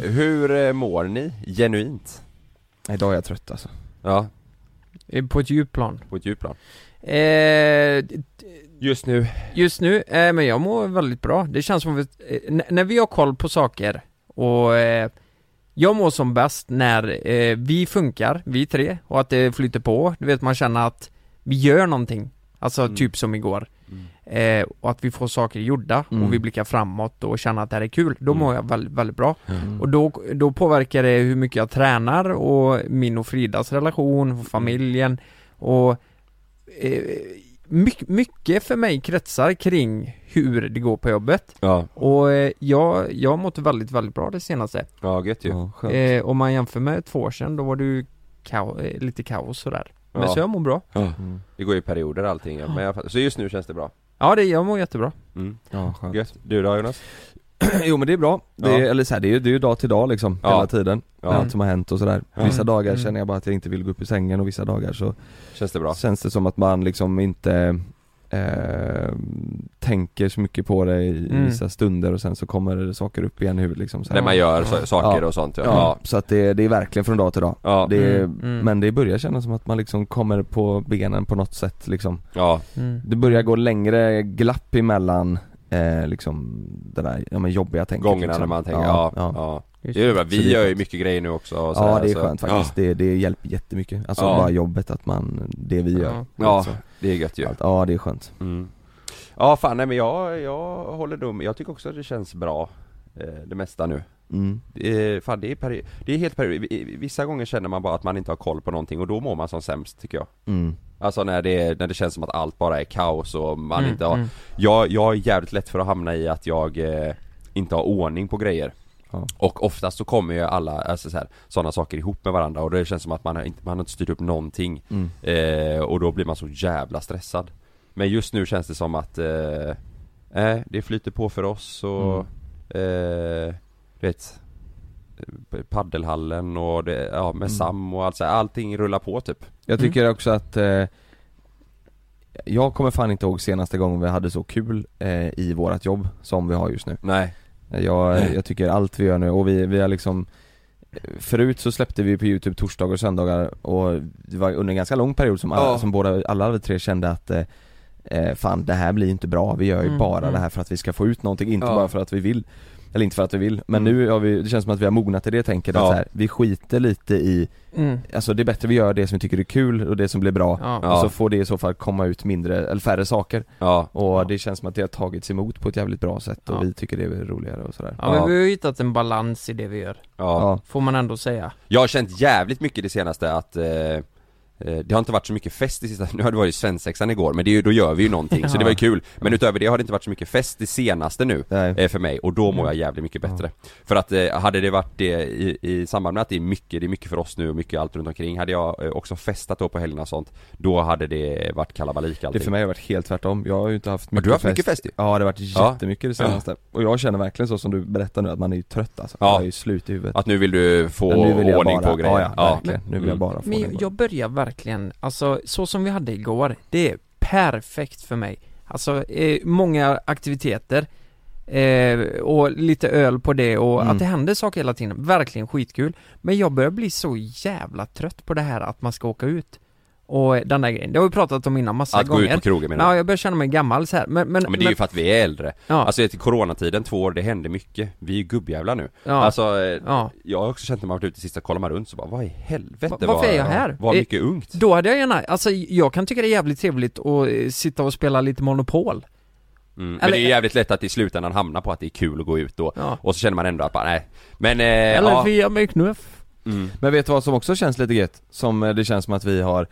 [SPEAKER 6] Hur eh, mår ni genuint?
[SPEAKER 9] Idag är jag trött alltså.
[SPEAKER 6] Ja.
[SPEAKER 8] Eh, På ett djupt plan.
[SPEAKER 6] På ett djupt plan.
[SPEAKER 8] Eh, d-
[SPEAKER 6] just nu?
[SPEAKER 8] Just nu, eh, men jag mår väldigt bra. Det känns som att, eh, n- när vi har koll på saker och eh, jag mår som bäst när eh, vi funkar, vi tre, och att det flyter på. Du vet, man känner att vi gör någonting. Alltså
[SPEAKER 9] Mm.
[SPEAKER 8] typ som igår. Eh, och att vi får saker gjorda
[SPEAKER 9] Mm.
[SPEAKER 8] och vi blickar framåt och känner att det här är kul. Då
[SPEAKER 9] Mm.
[SPEAKER 8] mår jag väldigt, väldigt bra.
[SPEAKER 9] Mm.
[SPEAKER 8] Och då, då påverkar det hur mycket jag tränar och min och Fridas relation, och
[SPEAKER 9] Mm.
[SPEAKER 8] familjen och eh, mycket, mycket för mig kretsar kring hur det går på jobbet.
[SPEAKER 6] Ja.
[SPEAKER 8] Och eh, jag, jag har mått väldigt, väldigt bra det senaste.
[SPEAKER 6] Ja, gött ju.
[SPEAKER 8] Eh, om man jämför med två år sedan, då var det ju kao- eh, lite kaos sådär. Men
[SPEAKER 6] Ja.
[SPEAKER 8] så jag mår bra.
[SPEAKER 6] Ja. Det går ju i perioder allting ja. men jag, fattar. Så just nu känns det bra?
[SPEAKER 8] Ja, det, jag mår jättebra.
[SPEAKER 6] Mm.
[SPEAKER 9] Ja, skönt.
[SPEAKER 6] Gött. Du då Jonas?
[SPEAKER 9] jo men det är bra, det är,
[SPEAKER 6] Ja.
[SPEAKER 9] eller så här, det är ju det är ju dag till dag liksom,
[SPEAKER 6] Ja.
[SPEAKER 9] hela tiden,
[SPEAKER 6] Ja.
[SPEAKER 9] med allt som har hänt och sådär
[SPEAKER 6] Ja.
[SPEAKER 9] Vissa dagar
[SPEAKER 6] Mm.
[SPEAKER 9] känner jag bara att jag inte vill gå upp i sängen och vissa dagar så
[SPEAKER 6] Känns det bra?
[SPEAKER 9] Känns det som att man liksom inte eh, tänker så mycket på det i
[SPEAKER 6] Mm.
[SPEAKER 9] vissa stunder och sen så kommer det saker upp igen i huvudet liksom så här.
[SPEAKER 6] När man gör så- saker och sånt, ja.
[SPEAKER 9] ja.
[SPEAKER 6] Ja.
[SPEAKER 9] så att det, det är verkligen från dag till dag det är,
[SPEAKER 6] Mm, mm.
[SPEAKER 9] Men det börjar kännas som att man liksom kommer på benen på något sätt liksom
[SPEAKER 6] Ja.
[SPEAKER 8] Mm.
[SPEAKER 9] Det börjar gå längre glapp emellan eh, liksom det där ja, men jobbiga tänket
[SPEAKER 6] Gångerna
[SPEAKER 9] liksom.
[SPEAKER 6] när man tänker, ja, ja.
[SPEAKER 9] Just
[SPEAKER 6] Det är ju bra.
[SPEAKER 9] det.
[SPEAKER 6] Vi gör ju mycket grejer nu också och
[SPEAKER 9] Ja
[SPEAKER 6] sådär,
[SPEAKER 9] det är
[SPEAKER 6] så-
[SPEAKER 9] skönt faktiskt, det, det hjälper jättemycket. Alltså
[SPEAKER 6] Ja.
[SPEAKER 9] bara jobbet, att man, det vi gör.
[SPEAKER 6] Ja, ja Mm.
[SPEAKER 9] Alltså.
[SPEAKER 6] det är gött ju.
[SPEAKER 9] Allt, ja det är skönt.
[SPEAKER 6] Ja fan nej men jag, jag håller dum, jag tycker också att det känns bra eh, Det mesta nu
[SPEAKER 9] Mm.
[SPEAKER 6] det är, fan, det, är peri- det är helt peri- vi- vissa gånger känner man bara att man inte har koll på någonting och då mår man som sämst tycker jag
[SPEAKER 9] Mm.
[SPEAKER 6] Alltså när det, är- när det känns som att allt bara är kaos och man
[SPEAKER 9] Mm,
[SPEAKER 6] inte har
[SPEAKER 9] mm.
[SPEAKER 6] jag, jag är jävligt lätt för att hamna i att jag eh, inte har ordning på grejer
[SPEAKER 9] Ja.
[SPEAKER 6] Och oftast så kommer ju alla, alltså så här, sådana saker ihop med varandra och det känns som att man har inte, man har inte styrt upp någonting
[SPEAKER 9] Mm.
[SPEAKER 6] eh, Och då blir man så jävla stressad Men just nu känns det som att eh, eh, det flyter på för oss och eh, Du vet eh, Paddelhallen och det, ja, med
[SPEAKER 9] Mm.
[SPEAKER 6] Sam och allt så här, allting rullar på typ
[SPEAKER 9] Jag tycker också att eh, Jag kommer fan inte ihåg senaste gången vi hade så kul eh, i vårat jobb som vi har just nu
[SPEAKER 6] Nej
[SPEAKER 9] Jag, jag tycker allt vi gör nu och vi, vi har liksom Förut så släppte vi på youtube torsdagar och söndagar och det var under en ganska lång period som, alla,
[SPEAKER 6] Ja.
[SPEAKER 9] som båda, alla vi tre kände att eh, eh, Fan det här blir inte bra, vi gör ju
[SPEAKER 6] Mm,
[SPEAKER 9] bara
[SPEAKER 6] mm.
[SPEAKER 9] det här för att vi ska få ut någonting, inte
[SPEAKER 6] Ja. Mm.
[SPEAKER 9] bara för att vi vill Eller inte för att vi vill, men nu har vi, det känns som att vi har mognat i det tänket
[SPEAKER 6] Ja.
[SPEAKER 9] att så här, vi skiter lite i
[SPEAKER 8] Mm.
[SPEAKER 9] Alltså det är bättre vi gör det som vi tycker är kul och det som blir bra
[SPEAKER 6] Ja.
[SPEAKER 9] och så får det i så fall komma ut mindre, eller färre saker
[SPEAKER 6] Ja.
[SPEAKER 9] Och det känns som att det har tagits emot på ett jävligt bra sätt och
[SPEAKER 8] Ja.
[SPEAKER 9] vi tycker det är roligare och sådär
[SPEAKER 8] Ja, men vi har ju hittat en balans i det vi gör.
[SPEAKER 6] Ja.
[SPEAKER 8] Får man ändå säga.
[SPEAKER 6] Jag har känt jävligt mycket det senaste att eh, eh, det har inte varit så mycket fest i sista, nu har det varit svensexan igår men det är, ju- då gör vi ju någonting så det var ju kul Men utöver det har det inte varit så mycket fest det senaste nu eh, för mig och
[SPEAKER 9] Mm.
[SPEAKER 6] då mår jag jävligt mycket bättre För att eh, hade det varit det i, i samband med att det är mycket, det är mycket för oss nu och mycket allt runt omkring Hade jag eh, också festat då på helgerna och sånt Då hade det varit kalabalik allting
[SPEAKER 9] Det för mig har varit helt tvärtom, jag har ju inte haft
[SPEAKER 6] Men du har haft mycket fest ju.
[SPEAKER 9] Ja det har varit
[SPEAKER 6] Ja.
[SPEAKER 9] jättemycket det senaste Och jag känner verkligen så som du berättar nu att man är ju trött alltså,
[SPEAKER 6] Ja.
[SPEAKER 9] jag är ju slut i huvudet
[SPEAKER 6] Att nu vill du få
[SPEAKER 9] Ja, nu vill jag
[SPEAKER 6] ordning
[SPEAKER 9] bara-
[SPEAKER 6] på grejer Mm.
[SPEAKER 9] ja, ja, verkligen. Nu vill jag bara få
[SPEAKER 8] Men
[SPEAKER 9] ordning på
[SPEAKER 8] jag, jag börjar verkligen, alltså så som vi hade igår, det är perfekt för mig. Alltså eh, många aktiviteter eh, och lite öl på det och
[SPEAKER 9] Mm.
[SPEAKER 8] att det händer saker hela tiden, verkligen skitkul. Men jag börjar bli så jävla trött på det här att man ska åka ut. Och den där grejen, det har vi pratat om innan massa
[SPEAKER 6] Att gå
[SPEAKER 8] gånger.
[SPEAKER 6] ut på krogen, menar du?
[SPEAKER 8] Ja, jag börjar känna mig gammal så här. Men, men,
[SPEAKER 6] Ja, men det är ju för att vi är äldre.
[SPEAKER 8] Ja.
[SPEAKER 6] Alltså i coronatiden, två år, det hände mycket. Vi är ju gubbjävlar nu.
[SPEAKER 8] Ja.
[SPEAKER 6] Alltså, eh,
[SPEAKER 8] Ja.
[SPEAKER 6] jag har också känt när man varit ute sist och kollat mig runt så bara, vad i helvete
[SPEAKER 8] Va- varför
[SPEAKER 6] var,
[SPEAKER 8] är jag här?
[SPEAKER 6] var
[SPEAKER 8] Eh,
[SPEAKER 6] mycket ungt.
[SPEAKER 8] Då hade jag gärna, alltså jag kan tycka det är jävligt trevligt att eh, sitta och spela lite Monopol.
[SPEAKER 6] Mm. Men
[SPEAKER 8] Eller-
[SPEAKER 6] det är ju jävligt lätt att i slutändan hamna på att det är kul att gå ut då.
[SPEAKER 8] Ja.
[SPEAKER 6] Och så känner man ändå att bara, nej. Men, eh,
[SPEAKER 8] Eller
[SPEAKER 6] ja.
[SPEAKER 8] via mig knuff.
[SPEAKER 9] Men vet du vad som också känns lite gött? Som eh, det känns som att vi har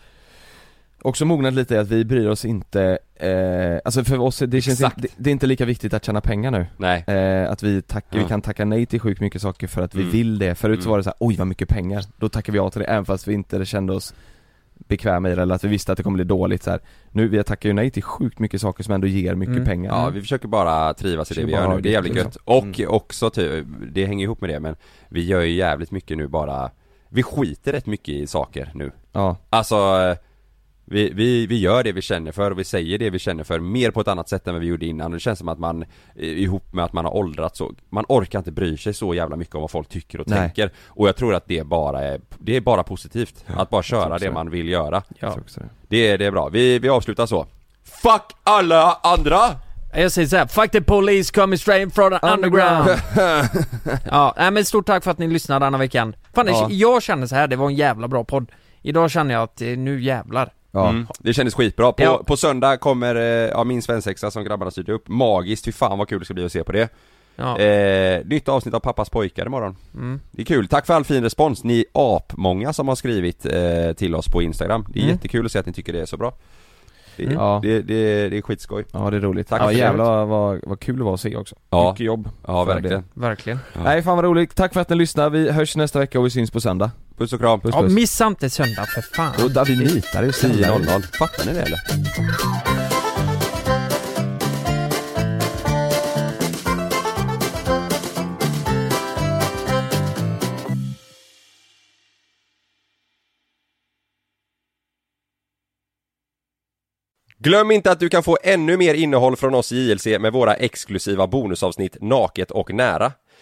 [SPEAKER 9] Också mognat lite i att vi bryr oss inte, eh, alltså för oss, det känns
[SPEAKER 6] Exakt.
[SPEAKER 9] inte, det- det är inte lika viktigt att tjäna pengar nu
[SPEAKER 6] Nej
[SPEAKER 9] eh, Att vi tackar,
[SPEAKER 6] Ja.
[SPEAKER 9] vi kan tacka nej till sjukt mycket saker för att vi
[SPEAKER 6] Mm.
[SPEAKER 9] vill det, förut så
[SPEAKER 6] Mm.
[SPEAKER 9] var det så här, oj vad mycket pengar, då tackar vi ja till det även fast vi inte kände oss bekväma i det eller att vi visste att det kommer bli dåligt så här. Nu, vi tackar ju nej till sjukt mycket saker som ändå ger mycket pengar
[SPEAKER 6] Mm. Ja, vi försöker bara trivas i det vi
[SPEAKER 9] mm. Bara
[SPEAKER 6] gör
[SPEAKER 9] ha
[SPEAKER 6] nu, det är jävligt
[SPEAKER 9] liksom.
[SPEAKER 6] gött. Och också typ, det hänger ihop med det men vi gör ju jävligt mycket nu bara, vi skiter rätt mycket i saker nu.
[SPEAKER 9] Ja.
[SPEAKER 6] Alltså, eh, vi, vi, vi gör det vi känner för och vi säger det vi känner för mer på ett annat sätt än vad vi gjorde innan. Och det känns som att man, eh, ihop med att man har åldrats så, man orkar inte bry sig så jävla mycket om vad folk tycker och
[SPEAKER 9] Nej.
[SPEAKER 6] tänker. Och jag tror att det bara är, det är bara positivt. Att bara
[SPEAKER 9] tror
[SPEAKER 6] köra
[SPEAKER 9] också
[SPEAKER 6] det
[SPEAKER 9] det.
[SPEAKER 6] man vill göra.
[SPEAKER 9] Jag tror också det.
[SPEAKER 6] Det, är- det är bra. Vi, vi avslutar så. Fuck alla andra!
[SPEAKER 8] Jag säger såhär, fuck the police coming straight from the underground. ja, nej, men stort tack för att ni lyssnade denna veckan. Fan,
[SPEAKER 6] Ja.
[SPEAKER 8] jag känner så här, det var en jävla bra podd. Idag känner jag att eh, nu jävlar.
[SPEAKER 6] Mm. Det kändes skitbra. På,
[SPEAKER 8] Ja.
[SPEAKER 6] på söndag kommer eh, ja, min svensexa som grabbarna styrde upp. Magiskt, fy fan vad kul det ska bli att se på det.
[SPEAKER 8] Ja.
[SPEAKER 6] Eh, nytt avsnitt av Pappas pojkar imorgon.
[SPEAKER 8] Mm.
[SPEAKER 6] Det är kul, tack för all fin respons. Ni är apmånga som har skrivit eh, till oss på Instagram. Det är
[SPEAKER 9] Mm.
[SPEAKER 6] jättekul att se att ni tycker det är så bra. Det,
[SPEAKER 9] Mm. Ja.
[SPEAKER 6] det, det, det är skitskoj.
[SPEAKER 9] Ja det är roligt.
[SPEAKER 6] Tack
[SPEAKER 9] ja
[SPEAKER 6] för det.
[SPEAKER 9] jävlar vad, vad kul det var att se också.
[SPEAKER 6] Ja.
[SPEAKER 9] Mycket jobb.
[SPEAKER 6] Ja,
[SPEAKER 9] för
[SPEAKER 6] verkligen.
[SPEAKER 9] det.
[SPEAKER 8] Verkligen.
[SPEAKER 9] Nej fan vad roligt, tack för att ni lyssnade, vi hörs nästa vecka och vi syns på söndag.
[SPEAKER 6] Puss och kram.
[SPEAKER 9] Puss,
[SPEAKER 8] Ja,
[SPEAKER 9] puss.
[SPEAKER 8] missa inte söndag för fan.
[SPEAKER 9] Och där vi nitar ju
[SPEAKER 6] 10.00. Fattar ni det eller? Glöm inte att du kan få ännu mer innehåll från oss i JLC med våra exklusiva bonusavsnitt Naket och nära.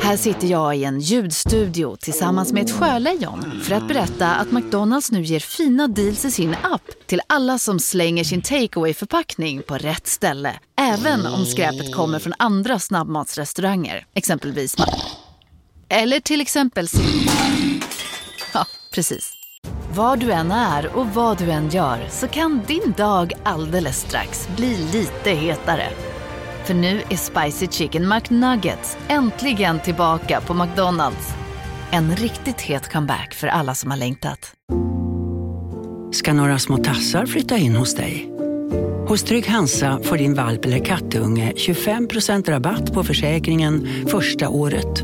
[SPEAKER 12] Här sitter jag i en ljudstudio tillsammans med ett sjölejon för att berätta att McDonalds nu ger fina deals i sin app till alla som slänger sin takeaway förpackning på rätt ställe. Även om skräpet kommer från andra snabbmatsrestauranger, exempelvis Ma- Eller till exempel Sil- Ja, precis. Var du än är och vad du än gör så kan din dag alldeles strax bli lite hetare. För nu är Spicy Chicken McNuggets äntligen tillbaka på McDonalds. En riktigt het comeback för alla som har längtat.
[SPEAKER 13] ska några små tassar flytta in hos dig. Hos Trygg Hansa får din valp eller kattunge 25% rabatt på försäkringen första året.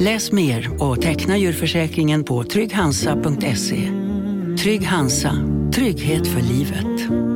[SPEAKER 13] Läs mer och teckna djurförsäkringen på trygghansa.se. Trygg Hansa, trygghet för livet.